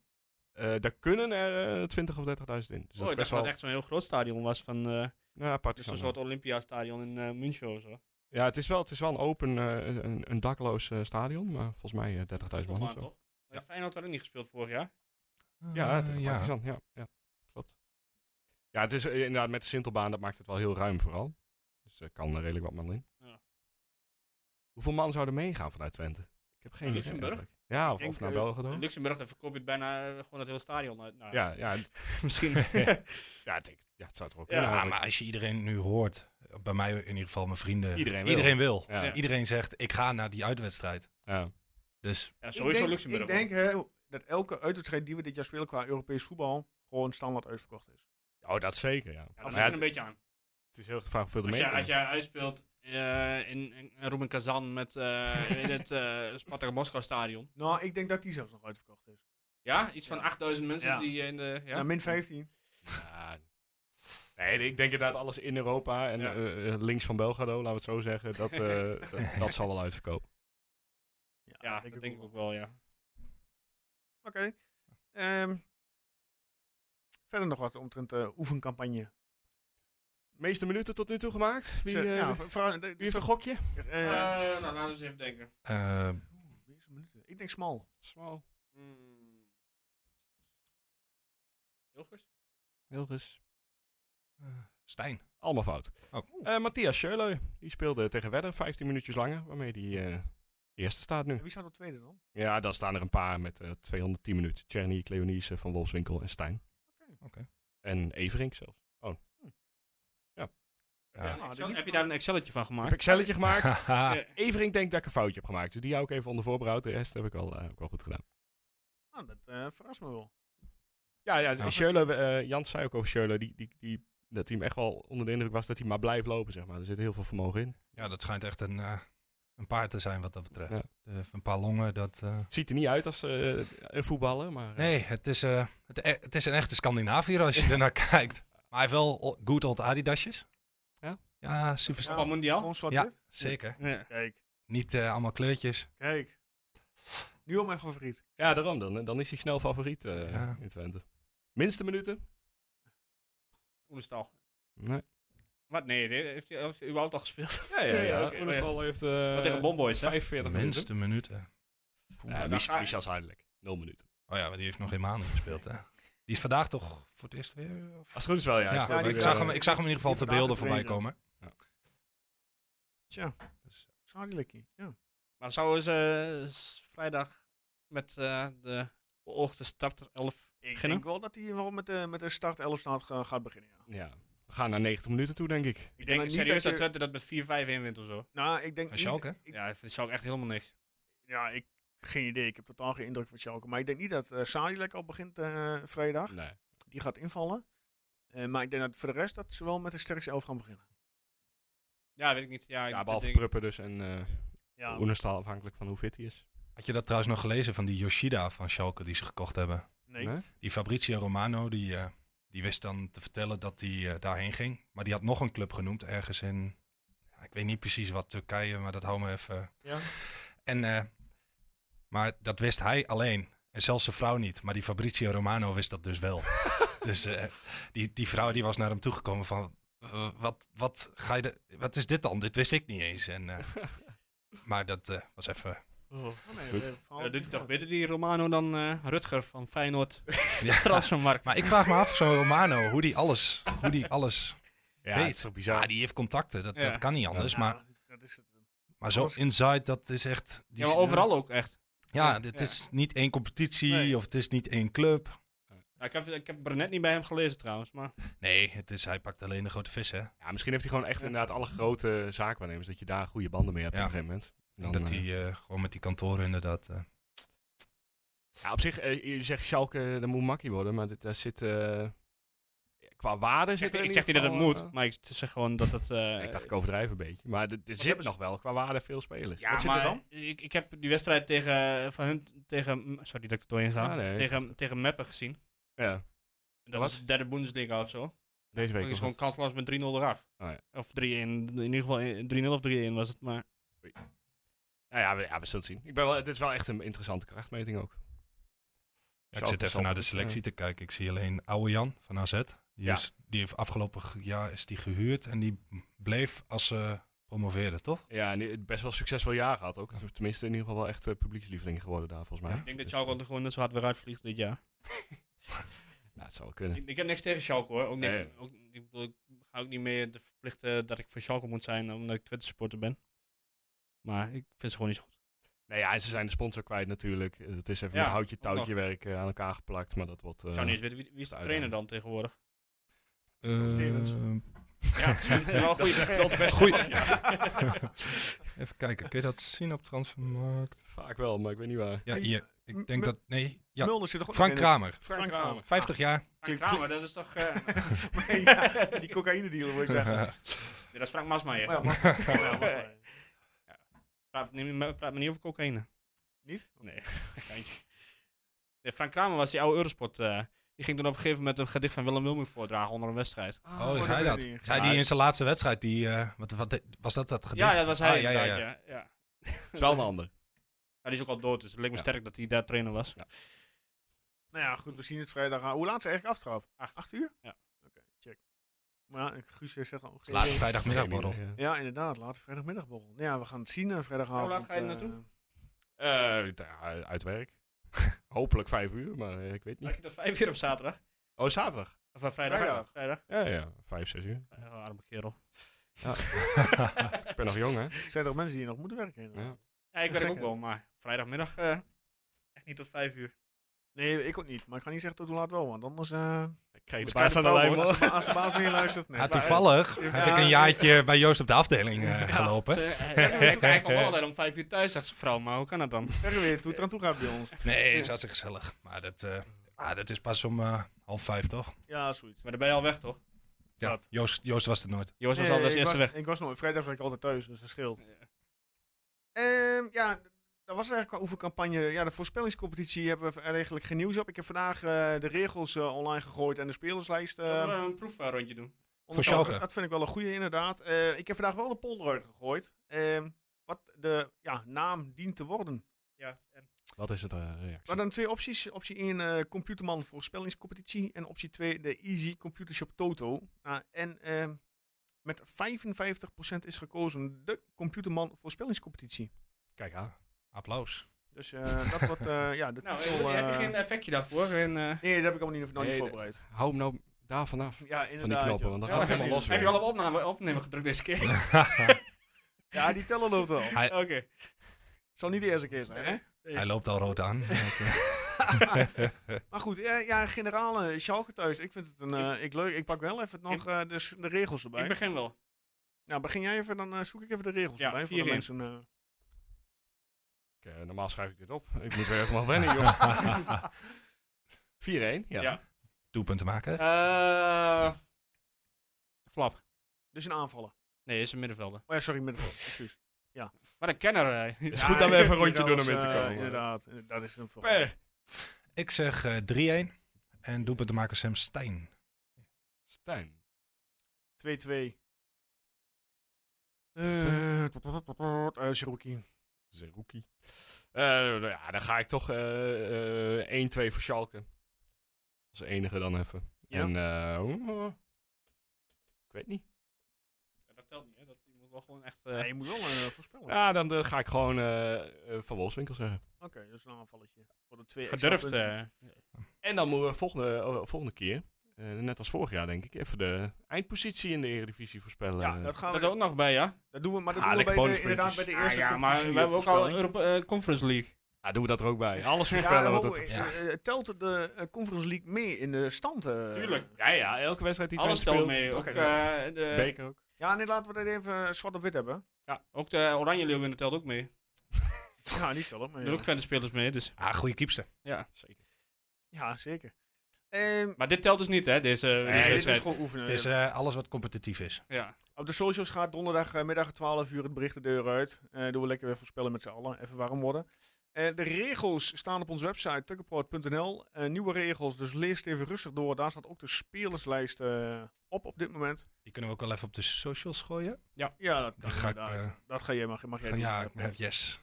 E: Eh, daar kunnen er eh 20.000 of 30.000 in. Dus dat
G: oh,
E: is
G: ik dacht
E: best
G: dat
E: wel...
G: het echt zo'n heel groot stadion was. Van, eh,
E: Ja,
G: dus
E: Partizan.
G: een soort Olympiastadion in eh, München of zo.
E: Ja, het is wel, het is wel een open, eh, een, een dakloos eh, stadion. Maar volgens mij eh, 30.000 man of
G: Toch?
E: zo.
G: toch? Ja. Feyenoord had ook niet gespeeld vorig jaar.
E: Ja,
F: Eh,
E: tegen
F: ja.
E: Partizan, ja. ja. Klopt. Ja, het is eh, inderdaad met de Sintelbaan, dat maakt het wel heel ruim vooral. Dus er kan er redelijk wat man in.
G: Ja.
E: Hoeveel man zouden meegaan vanuit Twente? Ik heb geen
G: Naar
E: idee
G: Luxemburg?
E: eigenlijk. Ja, of,
A: denk,
E: of naar
A: eh,
E: België dan?
G: Luxemburg, daar verkoop je het bijna eh, gewoon het hele stadion uit. Nou,
E: Ja, ja, het-
F: *laughs*
G: misschien.
E: ja, ik denk- ja, het zou toch ook
G: Ja,
E: kunnen
F: Ja,
E: eigenlijk.
F: maar als je iedereen nu hoort, bij mij in ieder geval mijn vrienden,
E: Iedereen wil.
F: iedereen wil.
E: Ja, ja.
F: Iedereen zegt, ik ga naar die uitwedstrijd. Dus
G: ja,
A: ik
G: sowieso
A: denk,
G: Luxemburg.
A: Ik denk hè, dat elke uitwedstrijd die we dit jaar spelen qua Europees voetbal gewoon standaard uitverkocht is.
E: Oh, dat zeker, ja. Maar
G: Ja, dat
E: ja,
G: ligt er een
E: het,
G: beetje aan.
E: het is heel gevraagd hoeveel er
G: Als
E: mee
G: jij, als jij uitspeelt eh, in, in Roemen Kazan met eh, weet het eh Spartak Moskou stadion.
A: Nou, ik denk dat die zelfs nog uitverkocht is.
G: Ja, iets van
A: Ja.
G: 8000 mensen
A: Ja.
G: die eh, in de... Ja?
A: Ja, min 15.
E: Ja. Nee, ik denk inderdaad alles in Europa en
G: Ja.
E: eh, eh, links van Belgrado, laten we het zo zeggen. Dat,
G: *laughs*
E: eh, dat, dat zal wel uitverkopen.
G: ja, dat denk, ik ook wel, ja.
A: wel. Oké. Ehm, verder nog wat omtrent eh oefencampagne.
E: De meeste minuten tot nu toe gemaakt. Wie,
A: Ze-
E: eh,
A: ja,
E: wie
A: vra- de-
E: heeft een gokje?
A: eh,
G: Eh, nou, laten we eens even denken.
F: eh,
A: Eerste minuten. Ik denk smal.
E: Smal.
G: Hmm. Hilgers?
E: Hilgers.
F: Stijn.
E: Allemaal fout.
F: Oh.
E: Eh, Matthias Schöle, die speelde tegen Wedder 15 minuutjes langer, waarmee die eh, eerste staat nu.
A: En wie staat op tweede dan?
E: Ja, dan staan er een paar met eh, 210 minuten. Czerny, Cleonice, Van Wolfswinkel en Stijn.
F: Oké.
E: En Everink zelfs.
F: Ja.
G: Ja, nou,
A: Ah,
G: Excel-
A: die lief-
G: heb je daar een Excelletje van
E: Ik
G: gemaakt?
E: heb Excelletje gemaakt.
F: *laughs*
E: *laughs*
F: Haha.
G: Ja.
E: Everink denkt dat ik een foutje heb gemaakt, dus die hou ik even onder voorbehoud. De rest heb ik al, eh, heb ik al goed gedaan.
A: Ah, dat eh, verrast me wel.
E: Ja, ja
F: Ja.
E: Schöle, eh, Jans zei ook over Schöle, die, die, die, dat hij hem echt wel onder de indruk was dat hij maar blijft lopen, zeg maar. Er zit heel veel vermogen in.
F: ja, dat schijnt echt een, eh, een paard te zijn wat dat betreft.
E: Ja.
F: Eh, een paar longen, dat... eh,
E: Het ziet er niet uit als eh, een voetballer, maar... eh,
F: Nee, het is, eh, het, e- het is een echte Scandinavier als je ernaar *laughs* kijkt. Maar hij heeft wel o- good old Adidasjes.
E: Ja?
F: Ja, super
A: Ja.
G: Papa Mondiaal?
A: Gewoon zwart
F: Ja, zeker.
G: Ja.
A: Kijk,
F: Niet eh, allemaal kleurtjes.
A: kijk. Nu op mijn favoriet.
E: Ja, daarom dan. Dan is hij snel favoriet eh,
F: Ja.
E: in Twente. Minste minuten?
G: Oenestal.
E: Nee.
G: Wat? Nee, die- heeft hij heeft hij überhaupt al gespeeld? *laughs*
E: Ja, ja,
G: Nee,
E: ja.
G: oké.
E: Oenestal heeft eh,
G: Wat tegen Bomboys, hè? Nou, ah.
E: 45 minuten.
F: Minste minuten.
E: Ja,
G: dan
E: Mich-
G: ga ik-
E: Michels Heidelijk. 0 minuten.
F: Oh ja, maar die heeft nog helemaal niet gespeeld, hè? Die is vandaag toch voor het eerst weer?
E: Als
F: Of?
E: het goed is wel, eh, ja.
F: Ja,
E: Hij speelt
A: die-
E: bij
F: ik,
E: de-
F: zag hem, ik zag hem in ieder geval op de
A: die vandaag
F: beelden voorbij
A: getraind,
F: komen.
A: Tja,
F: Dus-
A: zadelijkie. Ja.
G: Maar zouden ze eh, s- vrijdag met eh, de beoogde starter 11
A: Ik
G: beginnen?
A: denk wel dat hij wel met de, met de start 11 staat ga- gaat beginnen. Ja.
E: Ja. We gaan naar 90 minuten toe, denk ik.
G: Ik denk
A: niet
G: serieus dat
A: dat je-
G: Twente dat met 4-5 in wint of zo.
A: Nou, ik denk
F: Van
A: niet-
F: Schalke?
A: ik-
G: Ja, dat zou ik echt helemaal niks.
A: ja, ik geen idee. Ik heb totaal geen indruk van Schalke. Maar ik denk niet dat eh Sadilek al begint eh, vrijdag.
E: Nee.
A: Die gaat invallen. Eh, maar ik denk dat voor de rest dat ze wel met de sterkste elf gaan beginnen.
G: Ja, weet ik niet. Ja, ik
E: Ja, behalve
G: denk-
E: Pruppen dus en eh
A: Ja,
E: Oenestal afhankelijk van hoe fit hij is.
F: Had je dat trouwens nog gelezen van die Yoshida van Schalke die ze gekocht hebben?
A: nee.
E: Nee?
F: Die Fabrizio Romano, die, eh, die wist dan te vertellen dat hij eh, daarheen ging. Maar die had nog een club genoemd ergens in... ja, ik weet niet precies wat, Turkije, maar dat hou me even...
A: Ja.
F: En, eh, maar dat wist hij alleen. En zelfs zijn vrouw niet. Maar die Fabrizio Romano wist dat dus wel. dus eh, die, die vrouw die was naar hem toegekomen van... eh, wat, wat, ga je de, wat is dit dan? Dit wist ik niet eens. En, eh, maar dat eh, was even...
A: Oh, nee,
E: Goed.
A: eh,
G: Ja,
A: verhaal-
G: dat doet hij toch beter, die Romano, dan eh, Rutger van Feyenoord.
F: Ja.
G: *laughs* Transfermarkt.
F: Maar ik vraag me af, zo'n Romano, hoe die alles... Hoe die alles
E: Ja,
F: Weet.
E: het is toch bizar.
F: ja, die heeft contacten, dat,
G: Ja.
F: dat kan niet anders.
A: Ja,
F: Maar,
A: dat is het.
F: maar zo
A: alles-
F: inside, dat is echt... die
G: ja, maar
F: is-
G: overal ook echt.
F: Ja, het
G: Ja.
F: is niet één competitie
G: Nee.
F: of het is niet één club.
G: Eh. Ja, ik, heb, ik heb Brenet niet bij hem gelezen trouwens, maar
F: Nee, het is, hij pakt alleen de grote vis, hè?
E: Ja, misschien heeft hij gewoon echt inderdaad alle grote zaakwaarnemers. Dat je daar goede banden mee hebt
F: Ja.
E: op een gegeven moment. En dan,
F: dat
E: eh,
F: hij eh, gewoon met die kantoren inderdaad... eh,
E: ja, op zich, eh, je zegt Schalke, dat moet makkie worden. Maar dit, daar zit... eh, qua waarde
G: ik zeg,
E: zit er in
G: ik zeg niet
E: ieder
G: dat het
E: geval,
G: moet,
E: eh,
G: maar ik zeg gewoon dat het... eh,
E: *laughs* ik dacht, ik overdrijf een beetje. Maar er- er zit
A: hebben ze-
E: nog wel qua waarde veel spelers.
G: ja,
A: wat zit er
G: maar
A: dan?
G: Ik, ik heb die wedstrijd tegen, van hun, tegen, sorry dat ik er doorheen ga,
E: Ah, nee.
G: tegen, tegen Meppen gezien.
E: Ja,
G: Dat was de derde Bundesliga of zo.
E: deze week
G: Ik
E: was
G: is gewoon
E: het.
G: kansloos met 3-0 eraf.
E: Oh ja.
G: Of 3-1, in ieder geval eh, 3-0 of 3-1 was het, maar...
E: Ja, ja, we, ja, we zullen het zien. Ik ben wel, dit is wel echt een interessante krachtmeting ook.
F: Ja, ik zit even naar de selectie te kijken. Ik zie alleen oude Jan van AZ. Die,
E: Ja.
F: is, die heeft afgelopen g- jaar is die gehuurd en die bleef als ze promoveerden, toch?
E: Ja, en die- best wel succesvol jaar gehad ook. Tenminste, in ieder geval wel echt eh, publiekslieveling geworden daar, volgens mij.
F: Ja.
G: Ik denk dat
E: Dus,
G: Schalke er gewoon net zo hard weer uitvliegt dit jaar.
E: Ja, het zou wel kunnen.
G: Ik, ik heb niks tegen Schalke hoor. Ook niks,
E: Nee.
G: ook, ik, bedoel, ik ga ook niet meer de verplichten dat ik voor Schalke moet zijn omdat ik Twitter supporter ben. Maar ik vind ze gewoon niet zo goed.
E: Nou ja, en ze zijn de sponsor kwijt natuurlijk. Het is even
G: Ja,
E: met houtje
G: ook nog.
E: touwtje werk eh, aan elkaar geplakt, maar dat wordt... eh,
G: Ik zou niet eens weten, wie, wie is de
E: de
G: trainer
E: uitdaging.
G: dan tegenwoordig?
A: Stevens.
F: Ehm,
G: Ja, wel
E: dat is
G: goed.
E: echt wel het beste.
F: Goeie-
E: van, ja.
F: *laughs*
A: *laughs*
F: Even kijken, kun je dat zien op Transfermarkt?
E: Vaak wel, maar ik weet niet waar.
F: Ja,
A: Hey,
F: hier.
A: m-
F: Ik denk
A: m-
F: dat... Nee, ja.
A: Mulder zit er ook
F: Frank
A: nog in.
F: Kramer.
A: Frank Kramer.
F: 50 jaar.
G: Frank Kramer, dat is
A: *laughs*
G: toch... eh,
A: ja, *laughs* die cocaïne dealer wil ik
F: *laughs*
A: zeggen. *laughs*
G: nee, dat is Frank Masmaier.
A: Maar ja,
G: Ja,
A: maar-
G: Masmaier. Ja. Praat niet meer- praat me niet over cocaïne.
A: Niet?
G: Nee, *laughs* geintje. Nee, Frank Kramer was die oude Eurosport. eh, die ging toen op een gegeven moment een gedicht van Willem Wilming voordragen onder een wedstrijd.
F: Oh, is hij
A: daar
F: dat?
A: ben je.
F: Is hij die in zijn laatste wedstrijd, die... eh, wat, wat, was dat dat gedicht?
G: Ja, dat was hij
F: Ah, ja, ja,
G: inderdaad,
F: ja.
G: ja. ja.
E: Het is wel een *laughs* ander.
G: Ja, die is ook al dood, dus het leek me
E: Ja.
G: sterk dat hij daar trainer was.
A: Nou ja, goed, we zien het vrijdag aan. Hoe laat is eigenlijk aftrap?
G: Acht.
A: uur?
G: Ja.
A: Oké, check. Maar ja, Guus zegt al... geen
F: Laatste
A: idee.
F: vrijdagmiddagborrel.
E: Geen idee,
A: Ja, inderdaad, laat vrijdagmiddagborrel. Ja, we gaan het zien eh, vrijdagavond.
G: Hoe laat ga je er
A: eh,
G: naartoe?
E: ja. Eh, ja, uit werk. *laughs* Hopelijk vijf uur, maar eh, ik weet
G: Lijkt
E: niet.
G: je dat vijf uur op zaterdag?
E: Oh, zaterdag.
G: Of eh, vrijdag?
A: Vrijdag.
G: Vrijdag.
E: Ja, ja, vijf, zes uur.
G: Oh, arme kerel.
E: Ik ben nog jong, hè?
A: zijn er ook mensen die nog moeten werken? inderdaad.
E: Ja.
G: *laughs* Ja, ik werk
A: Gek,
G: ook
A: hè?
G: wel, maar vrijdagmiddag eh, echt niet tot vijf uur.
A: Nee, ik ook niet. Maar ik ga niet zeggen tot hoe laat wel, want anders... eh,
E: Ik kreeg de
G: Moet
E: baas aan
G: kijken
E: de
G: of
E: lijn,
G: het
E: man.
A: als, de, als de baas meer luistert... Nee,
F: Ja,
A: Maar, eh,
F: toevallig
A: Ja.
F: heb ik een jaartje bij Joost op de afdeling
A: *laughs*
F: eh, gelopen.
G: ik kom eigenlijk altijd om vijf uur thuis, zegt zijn vrouw, maar hoe kan dat dan?
A: Verder weer, hoe het eraan toe gaat bij ons.
F: Nee, het is hartstikke gezellig. Maar dat, eh, ah, dat is pas om eh, half vijf, toch?
A: Ja, zoiets.
G: Maar dan ben je al weg, toch?
F: Ja,
A: Dat.
F: Joost, Joost was er nooit.
G: Joost was
A: Nee,
G: al als
A: Eh, ik
G: eerste
A: was-
G: weg.
A: Ik was nooit. Vrijdag was ik altijd thuis, dus dat scheelt.
G: Ja.
A: Ehm, ja, dat was het eigenlijk qua oefencampagne. Ja, de voorspellingscompetitie hebben we eigenlijk geen nieuws op. Ik heb vandaag eh, de regels eh, online gegooid en de spelerslijst. eh,
G: Zullen we een proefrondje doen?
A: onder-
F: Schalke.
A: Dat vind ik wel een goede, inderdaad. Eh, ik heb vandaag wel de polder uitgegooid. Ehm, wat de ja, naam dient te worden.
G: Ja. en-
E: Wat is het eh,
A: We
E: reactie?
A: hadden twee opties. Optie 1, eh Computerman voorspellingscompetitie. En optie 2, de Easy Computer Shop Toto. Ah, en ehm, met 55% is gekozen de Computerman voorspellingscompetitie.
E: Kijk aan.
A: *laughs*
F: Applaus.
A: Dus
E: *laughs*
A: eh, dat wordt eh, ja, de
G: Nou,
A: titel,
G: eh, heb je
A: eh,
G: geen effectje daarvoor? En, eh,
A: Nee, dat heb ik allemaal niet, nog niet
E: Nee, dat-
A: voorbereid.
E: Hou hem nou daar vanaf.
A: Ja,
E: Van die
A: inderdaad.
E: knoppen,
A: joh.
E: want dan
G: ja,
E: gaat het
G: heb
E: helemaal
G: je-
E: los
G: Heb je
E: weer.
G: al op opname, opnemen gedrukt deze keer?
A: Ja, die teller loopt wel.
F: Hij-
G: Oké.
A: Zal niet de eerste keer zijn, hè?
F: Hij loopt al rood aan.
A: *laughs* Maar goed, eh, ja, generale Schalke thuis. Ik vind het een, eh, ik leuk. Ik pak wel even nog eh, dus de regels erbij.
G: Ik begin
E: *laughs*
G: wel.
A: Nou, begin jij even, dan eh, zoek ik even de regels
G: Ja,
A: erbij. Voor de
G: 4-1.
A: mensen, eh.
E: Ik, eh, normaal schrijf ik dit op. Ik moet weer helemaal wennen, *laughs* joh. 4-1, ja.
G: Ja.
F: *laughs* Doelpunten maken.
G: Eh, flap.
A: dus een aanvallen.
G: Nee, is een middenvelder.
A: Oh ja, sorry, middenveld.
E: *laughs*
A: Excuus.
G: Maar een kenner. eh.
E: Het is goed dat we even een rondje
A: Dat
E: doen
A: was,
E: om in te
A: eh,
E: komen.
A: Inderdaad, eh, dat is een verhaal.
E: Per.
F: Ik zeg eh, 3-1. En doelpunten maken Sam Stein.
E: Stijn.
A: 2-2. Eh, eh, Cherokee.
E: Dat is een rookie. Eh, nou ja, dan ga ik toch eh, eh, 1-2 voor Schalke. Als enige dan even.
A: Ja.
E: En, eh, oh, oh. ik weet niet.
G: Ja, dat telt niet, hè. Dat je moet wel gewoon echt... eh,
A: Ja, je moet wel eh, voorspellen.
E: Ja, dan eh, ga ik gewoon eh, eh, Van Wolfswinkel zeggen.
A: Oké, dus een aanvalletje. Voor de twee extra
G: gedurfd.
A: punten.
G: eh.
E: En dan moeten we volgende, eh, volgende keer, eh, net als vorig jaar denk ik, even de eindpositie in de Eredivisie voorspellen.
A: Ja, dat gaan we
G: dat ook nog bij, ja.
A: Dat doen we, maar dat
E: Ah,
A: doen we
E: lekker
A: bij de, inderdaad
E: bonuspuntjes.
A: bij de
G: Ah,
A: eerste
G: ja, maar we hebben ook al een Europa- eh, Conference League.
E: Ja, Ah, doen we dat er ook bij.
A: *laughs*
E: Alles
A: Ja,
E: voorspellen. wat
A: ho,
E: het-
A: eh, eh, telt de eh, Conference League mee in de stand? eh?
G: Tuurlijk.
E: ja, ja, elke wedstrijd die
G: Alles telt
E: speelt.
G: mee. Ook,
A: Oké.
G: eh, de,
E: Beker ook.
A: Ja, nee, laten we dat even eh, zwart op wit
F: *laughs*
A: hebben.
G: ook de Oranje Leeuwinnen telt ook mee.
A: Ja, niet tellen, maar
G: Er doen ook Twente spelers mee, dus
F: Ah, goede kiepste.
G: ja.
A: Ja, zeker. Ehm,
G: Maar dit telt dus niet, hè, deze, deze
A: nee, dit is
G: wedstrijd.
A: gewoon oefenen.
F: Het is eh, alles wat competitief is.
G: Ja.
A: Op de socials gaat donderdagmiddag 12 uur het bericht de deur uit. Eh doen we lekker weer voorspellen met z'n allen. Even warm worden. Eh, de regels staan op onze website tukkenproot.nl. Eh, nieuwe regels, dus lees het even rustig door. Daar staat ook de spelerslijst eh, op op dit moment.
F: Die kunnen we ook wel even op de socials gooien.
A: Ja, dat kan
F: Dan ga ik,
A: inderdaad.
F: eh,
A: Dat ga jij, mag, mag jij
F: Van
A: doen.
F: ja, yes.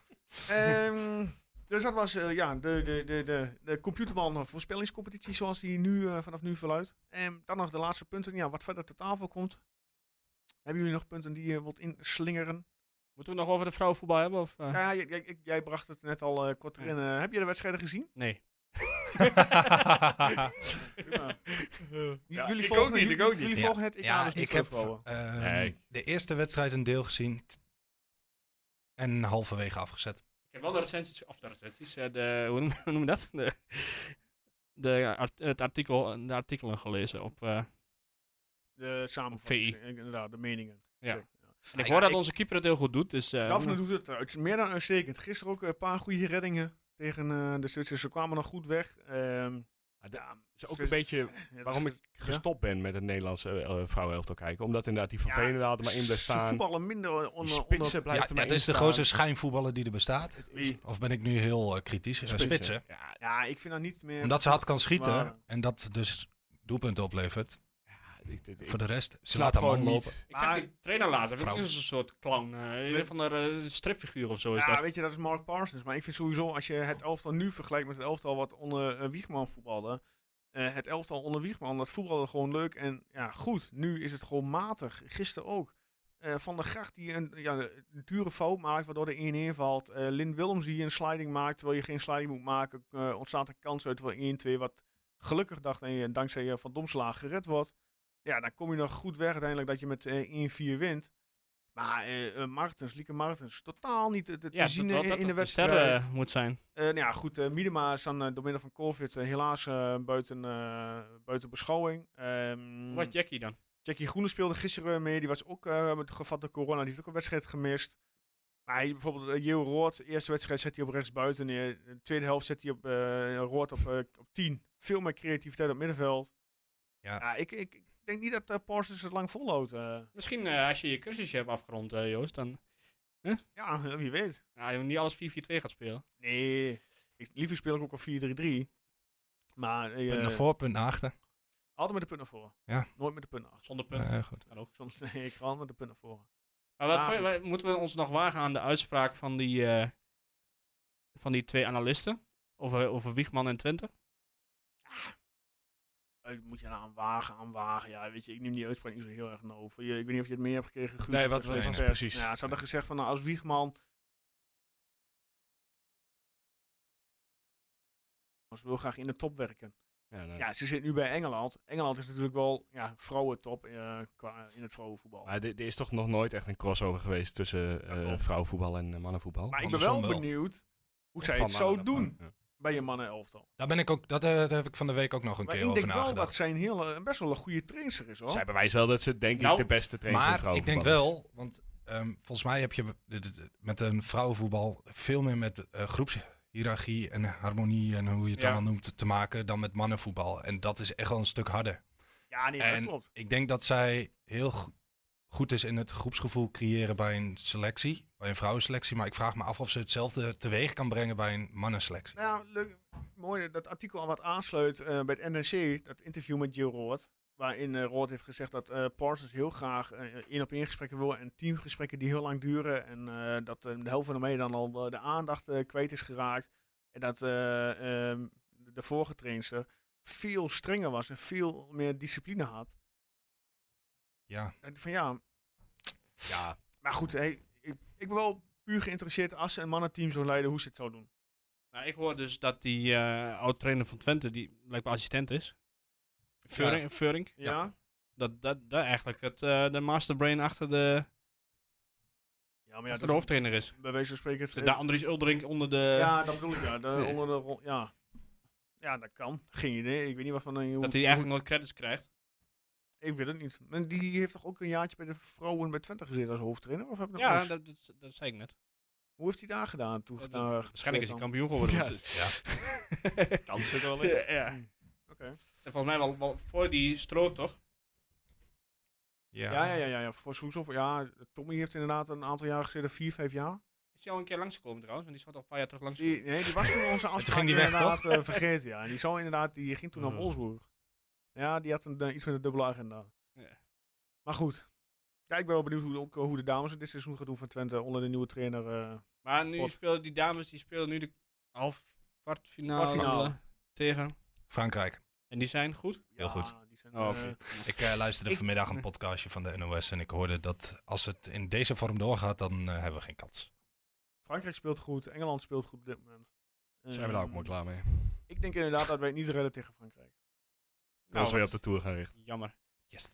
A: Ehm, dus dat was eh, ja, de, de, de, de, de computerman voorspellingscompetitie zoals die nu eh, vanaf nu verluidt. En dan nog de laatste punten. Ja, wat verder ter tafel komt. Hebben jullie nog punten die je wilt inslingeren?
G: Moeten we het nog over de vrouwenvoetbal hebben? Of, eh?
A: Ja, ja, jij, jij- jij bracht het net al eh, kort erin. Eh, heb je de wedstrijden gezien? *laughs*
G: Nee.
A: J- jullie
E: ik
A: volgen-
E: ook niet,
A: jullie-
E: ik ook niet.
A: Jullie
F: Ja.
A: volgen het EK
F: Ja,
A: dus niet
F: ik
A: voor de
F: heb-
A: vrouwen.
F: Ehm,
E: Nee.
F: De eerste wedstrijd een deel gezien. t- En halverwege afgezet.
G: Ik heb wel de recensies, of de recensies, eh, de, hoe, noem, hoe noem je dat? De, de, art- het artikel, de artikelen gelezen op... eh,
A: De
G: VI.
A: samenvatting, eh, inderdaad, de meningen.
G: Ja.
A: Zeker,
G: en ik
F: ja,
G: hoor dat
F: ik-
G: onze keeper het heel goed doet, dus... eh,
A: Daphne doet het uit, meer dan uitstekend. Gisteren ook een paar goede reddingen tegen eh, de Zwitsers. Ze kwamen nog goed weg. Ehm,
E: Ah, da-
A: ja, Eh,
E: is ook een beetje
A: het was-
E: waarom ik gestopt ben met het Nederlandse eh, eh, vrouwenelftal kijken. Omdat inderdaad die vervelende hadden maar in blijft
A: Ze
E: staan.
A: voetballen minder onder...
E: Die
A: onder
E: spitsen
F: Ja,
E: blijft er maar
F: het is
E: in
F: de
E: staan.
F: grootste schijnvoetballer die er bestaat.
A: Wie?
F: Of ben ik nu heel eh, kritisch? Eh, Spitsen.
E: Ja,
A: Ja, ik vind dat niet meer...
F: Omdat ze hard kan schieten
A: Maar-
F: en dat dus doelpunten oplevert.
E: ik, ik, ik
F: Voor de rest, ze
E: snap
F: laat hem
E: gewoon
F: lopen.
E: niet.
G: Ik zag die trainer later, vind ik
F: Vrouw.
G: ook een soort clown. eh een van de eh, stripfiguur of zo is
A: ja,
G: dat.
A: weet je, dat is Mark Parsons. Maar ik vind sowieso, als je het elftal nu vergelijkt met het elftal wat onder eh, Wiegman voetbalde. eh, het elftal onder Wiegman, dat voetbalde gewoon leuk en ja, goed. Nu is het gewoon matig. Gisteren ook. Eh, Van der Gracht die een, ja, een dure fout maakt, waardoor de 1-1 valt. Eh, Lin Willems die een sliding maakt, terwijl je geen sliding moet maken. Eh, ontstaat een kans uit wel 1-2, wat gelukkig dacht en dankzij eh, Van Domslaag gered wordt. Ja, dan kom je nog goed weg uiteindelijk dat je met eh 1-4 wint. Maar eh eh, Martens, Lieke Martens, totaal niet te, te
G: Ja,
A: zien eh,
G: dat-
A: in,
G: dat
A: in de
G: dat
A: wedstrijd.
G: sterren moet zijn.
A: Eh, nou ja, goed. eh, Miedema is dan eh, door middel van COVID eh, helaas eh, buiten, eh, buiten beschouwing. Ehm,
G: Wat Jackie dan?
A: Jackie Groene speelde gisteren mee. Die was ook eh, met gevat door corona. Die heeft ook een wedstrijd gemist. Maar hij, bijvoorbeeld eh, Jeel Roord. De eerste wedstrijd zet hij op rechts buiten neer. De tweede helft zet hij op eh Roord op, eh, op 10. Veel meer creativiteit op middenveld.
F: Ja.
A: ik, ik, ik denk niet dat eh Parsons het lang volhoudt. eh.
G: Misschien eh, als je je cursusje hebt afgerond, eh, Joost, dan
A: ja, *laughs* wie weet.
G: nou, je moet niet alles 4-4-2 gaat spelen.
A: Nee. Ik, liever speel ik ook op 4-3-3. Maar eh,
F: Punt naar voor, punt naar achter.
A: altijd met de punt naar voren.
F: Ja.
A: Nooit met de punt naar achter.
G: Zonder punten.
F: Eh, goed.
G: Kan ook.
A: Soms *laughs* nee, ik ga altijd met de punt naar voren.
G: Maar wat,
A: Ah,
G: voor-
A: goed.
G: wat- moeten we ons nog wagen aan de uitspraak van die, eh, van die twee analisten? Over, over Wiegman en Twente?
A: Eh, moet je eraan wagen, aan wagen. Ja, weet je, ik neem die uitspraak niet zo heel erg nauw. voor. Je- Ik weet niet of je het mee hebt gekregen, Guus.
E: Nee, wat- wat
A: Eh,
E: was het
A: pers.
E: precies?
A: Ja, ze hadden gezegd van, nou, als Wiegman... Ze wil graag in de top werken.
E: Ja, nou,
A: Ja, ze zit nu bij Engeland. Engeland is natuurlijk wel ja, vrouwentop eh, qua, in het vrouwenvoetbal.
E: Maar er er is toch nog nooit echt een crossover geweest tussen eh,
A: klopt.
E: vrouwenvoetbal en eh, mannenvoetbal?
A: maar ik ben wel
F: andersom wel.
A: benieuwd hoe zij
E: Van
A: het zou
E: mannen naar
A: doen
E: vrouwen, ja.
A: bij je mannenelftal.
F: Daar, ben ik ook, dat, eh, daar heb ik van de week ook nog een
A: Maar
F: keer
A: ik
F: over
A: denk wel dat
F: nagedacht.
A: zij een hele, best wel een goede trainster is, hoor.
E: Zij bewijst wel dat ze denk
G: Nou,
E: ik de beste trainers van
F: Maar ik denk
E: vrouwenvoetbal dus.
F: wel, want ehm, volgens mij heb je de- de- de- met een vrouwenvoetbal veel meer met eh, groepshierarchie en harmonie en hoe je het
G: Ja.
F: allemaal noemt te maken dan met mannenvoetbal. En dat is echt wel een stuk harder.
A: ja, nee, dat
F: en
A: klopt.
F: ik denk dat zij heel go- goed is in het groepsgevoel creëren bij een selectie, bij een vrouwenselectie. Maar ik vraag me af of ze hetzelfde teweeg kan brengen bij een mannenselectie.
A: Nou ja, leuk, mooi dat artikel al wat aansluit eh, bij het NRC, dat interview met Jill Roord. Waarin eh Roord heeft gezegd dat eh, Parsons heel graag eh, één op één gesprekken wil en teamgesprekken die heel lang duren. En eh, dat eh, de helft van de meiden dan al eh, de aandacht eh, kwijt is geraakt. En dat eh, ehm, de vorige trainster veel strenger was en veel meer discipline had.
F: Ja,
A: En van ja,
E: Ja,
A: maar goed, hey, ik, ik ben wel puur geïnteresseerd als ze een mannenteam zou leiden, hoe ze het zou doen.
G: Nou, ik hoor dus dat die eh oud-trainer van Twente, die blijkbaar assistent is, Feuring, Feuring
A: Ja?
F: Ja.
G: dat, dat, dat eigenlijk het, eh, de masterbrain achter de,
A: Ja, Ja, maar ja,
G: dat
A: dat
G: de hoofdtrainer is.
A: bij wijze van spreken...
G: Zit daar Andries Uldering onder de...
A: ja, dat bedoel ik, ja.
G: *laughs*
A: De,
G: Nee.
A: onder de, rol- ja. ja, dat kan. Geen idee. Ik weet niet wat van... eh, hoe-
G: dat hij eigenlijk nooit credits krijgt.
A: Ik weet het niet. En die heeft toch ook een jaartje bij de vrouwen bij Twente gezeten als hoofdtrainer? Of heb ik dat
G: Ja,
A: mis?
G: dat, dat, dat zei ik net.
A: Hoe heeft hij daar gedaan? Toen,
G: dat-
A: nou,
G: Waarschijnlijk is
A: dan?
G: hij kampioen geworden.
E: Ja,
G: want-
A: Kans zit *laughs* er wel in.
G: Ja, ja.
A: Oké.
G: En volgens mij wel, wel voor die stroot, toch?
F: Ja.
A: Ja, ja, ja, ja, ja. Voor Soeshoff, ja, Tommy heeft inderdaad een aantal jaar gezeten, vier, vijf jaar.
G: Is hij al een keer langsgekomen trouwens? Want die zat al een paar jaar terug langs.
A: Die, nee, die was toen
G: *laughs*
A: onze afspraak
F: ging die weg,
A: inderdaad eh, vergeten, ja. En die, zou inderdaad, die ging toen
G: Mm.
A: naar
E: Oh.
A: Wolfsburg. Ja, die had een, eh, iets met een dubbele agenda.
G: Ja.
A: Maar goed. Ja, ik ben wel benieuwd hoe, ook, eh, hoe de dames het dit seizoen gaan doen van Twente onder de nieuwe trainer. eh.
G: Maar nu
A: Pot.
G: spelen die dames, die spelen nu de half kwartfinale eh,
A: Kwartfinale.
G: tegen.
F: Frankrijk.
G: En die zijn goed.
F: Heel
A: Ja,
F: goed.
A: Die zijn,
G: Oh,
A: eh,
G: shit.
F: Ik eh, luisterde
G: Ik-
F: vanmiddag een podcastje van de NOS en ik hoorde dat als het in deze vorm doorgaat, dan eh, hebben we geen kans.
A: Frankrijk speelt goed, Engeland speelt goed op dit moment.
E: Zijn we daar ook
A: Ehm,
E: mooi klaar mee.
A: Ik denk inderdaad dat wij het niet redden tegen Frankrijk.
E: Dat is weer
G: wat
E: op de Tour gaan richten.
G: Jammer.
F: Yes.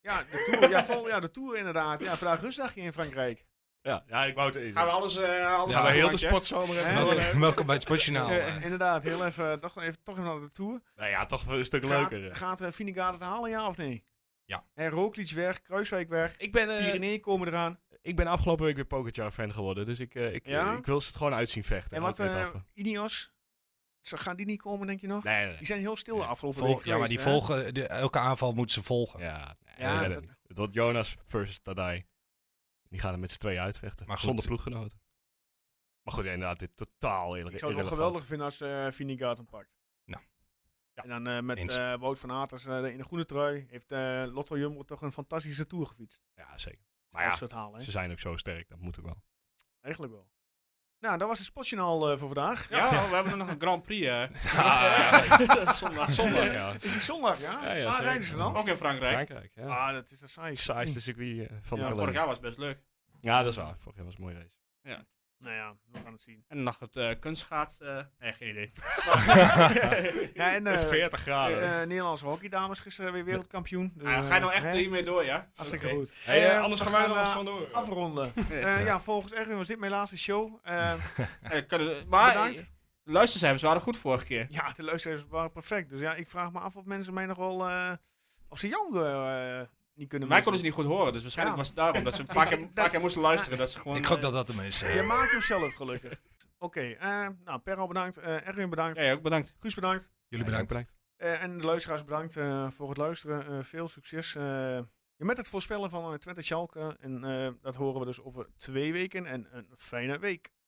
A: Ja, de Tour, ja, vol, ja, de tour inderdaad. Ja, vandaag rustdagje in Frankrijk.
E: Ja, ja ik wou het even.
G: Gaan we alles... eh alles
E: Gaan we heel de
G: afmaken?
E: sportzomer even
A: Hè?
E: door.
A: Hallo.
F: *laughs* Welkom bij het Sportjournaal.
A: Eh,
F: eh.
A: inderdaad, heel even, toch even, toch even naar de Tour.
E: Nou ja, toch een stuk
A: Gaat-
E: leuker. eh. hè.
A: Gaat uh, Vinegaard het halen, ja of nee?
F: Ja.
A: En Roglic weg, Kruiswijk weg,
E: Ik ben, eh,
A: Pyrenee komen eraan.
E: ik ben afgelopen week weer Pokerjar fan geworden. Dus ik, eh, ik,
A: Ja?
E: ik wil ze het gewoon uitzien vechten.
A: en wat,
E: elke
A: eh,
E: etappe.
A: Ineos, Zo- gaan die niet komen, denk je nog?
E: Nee, nee, nee.
A: Die zijn heel stil de
E: Ja,
A: afgelopen
F: Vol-
A: week
F: ja, maar
A: geweest,
F: die
A: hè?
F: volgen, de- elke aanval moeten ze volgen.
E: Ja, nee,
A: Ja,
E: dat,
A: dat-
E: niet. Het wordt Jonas versus Tadai. Die gaan er met z'n tweeën uitvechten.
F: Maar goed.
E: zonder ploeggenoten. Maar goed, ja, inderdaad, dit totaal eerlijk.
A: Ik zou het wel geweldig vinden als eh Vinegaard hem pakt.
F: Nou.
A: En dan eh, met
F: Eens.
A: eh, Wout van Aert als, eh, in de groene trui heeft eh, Lotto Jumbo toch een fantastische Tour gefietst.
E: Ja, zeker. Maar
A: Maar als
E: Nou ja,
A: ze het halen, hè?
E: ze zijn ook zo sterk. Dat moet ook wel.
A: Eigenlijk wel. Nou, dat was het spotjournaal eh, voor vandaag.
G: Ja, we hebben nog een Grand Prix. hè. *laughs*
E: Zondag,
G: Zondag. *laughs* Zondag.
E: ja.
A: Is het zondag, ja?
E: *laughs* Ja, ja,
A: Waar
E: zeker.
A: rijden ze dan?
G: Ook in Frankrijk.
E: Frankrijk, ja.
A: Ah, dat is een saai.
E: het saaiste circuit eh, van
A: Ja,
E: de kalender.
G: Vorig jaar was het best leuk.
E: Ja, dat is waar. Vorig jaar was een mooie
A: *laughs*
E: race.
A: Nou ja, we gaan het zien.
G: En dan nog het eh kunstschaats. eh, nee, geen *laughs* idee.
A: Ja,
G: *laughs*
A: en, eh,
E: Met 40 graden.
A: eh, Nederlandse hockeydames gisteren weer wereldkampioen. Dus,
G: Ah, ga je nou
A: eh,
G: echt
A: hè?
G: hiermee door, ja?
A: Hartstikke
G: Oké.
A: goed.
E: Hey, eh,
A: Eh,
E: anders
A: we
E: gaan wij er
A: gaan,
E: nog
A: eh,
E: eens vandoor. *laughs*
A: Afronden. Eh, ja. volgens Erwin was dit mijn laatste show. Eh,
G: Eh, kunnen- maar
A: Bedankt.
G: eh, luistercijfers waren goed vorige keer.
A: ja, de luisteraars waren perfect. Dus ja, ik vraag me af of mensen mij nog wel... eh, of ze jou eh, niet kunnen
G: Mij
A: missen.
G: konden ze niet goed horen, dus
A: *laughs*
G: waarschijnlijk
A: Ja.
G: was het daarom dat ze een paar keer,
A: Dat-
G: paar keer moesten luisteren. Dat ze gewoon,
F: Ik gok
G: eh,
F: dat dat de mensen.
A: Je maakt hem zelf gelukkig. *laughs* Oké, eh, nou, Perro bedankt. eh, Erwin bedankt.
G: Ja, ja, ook bedankt.
A: Guus bedankt.
F: Jullie bedankt.
A: Eh, en de luisteraars bedankt eh, voor het luisteren. Eh, veel succes eh, met het voorspellen van eh, Twente Schalke. En eh, dat horen we dus over twee weken. En een fijne week.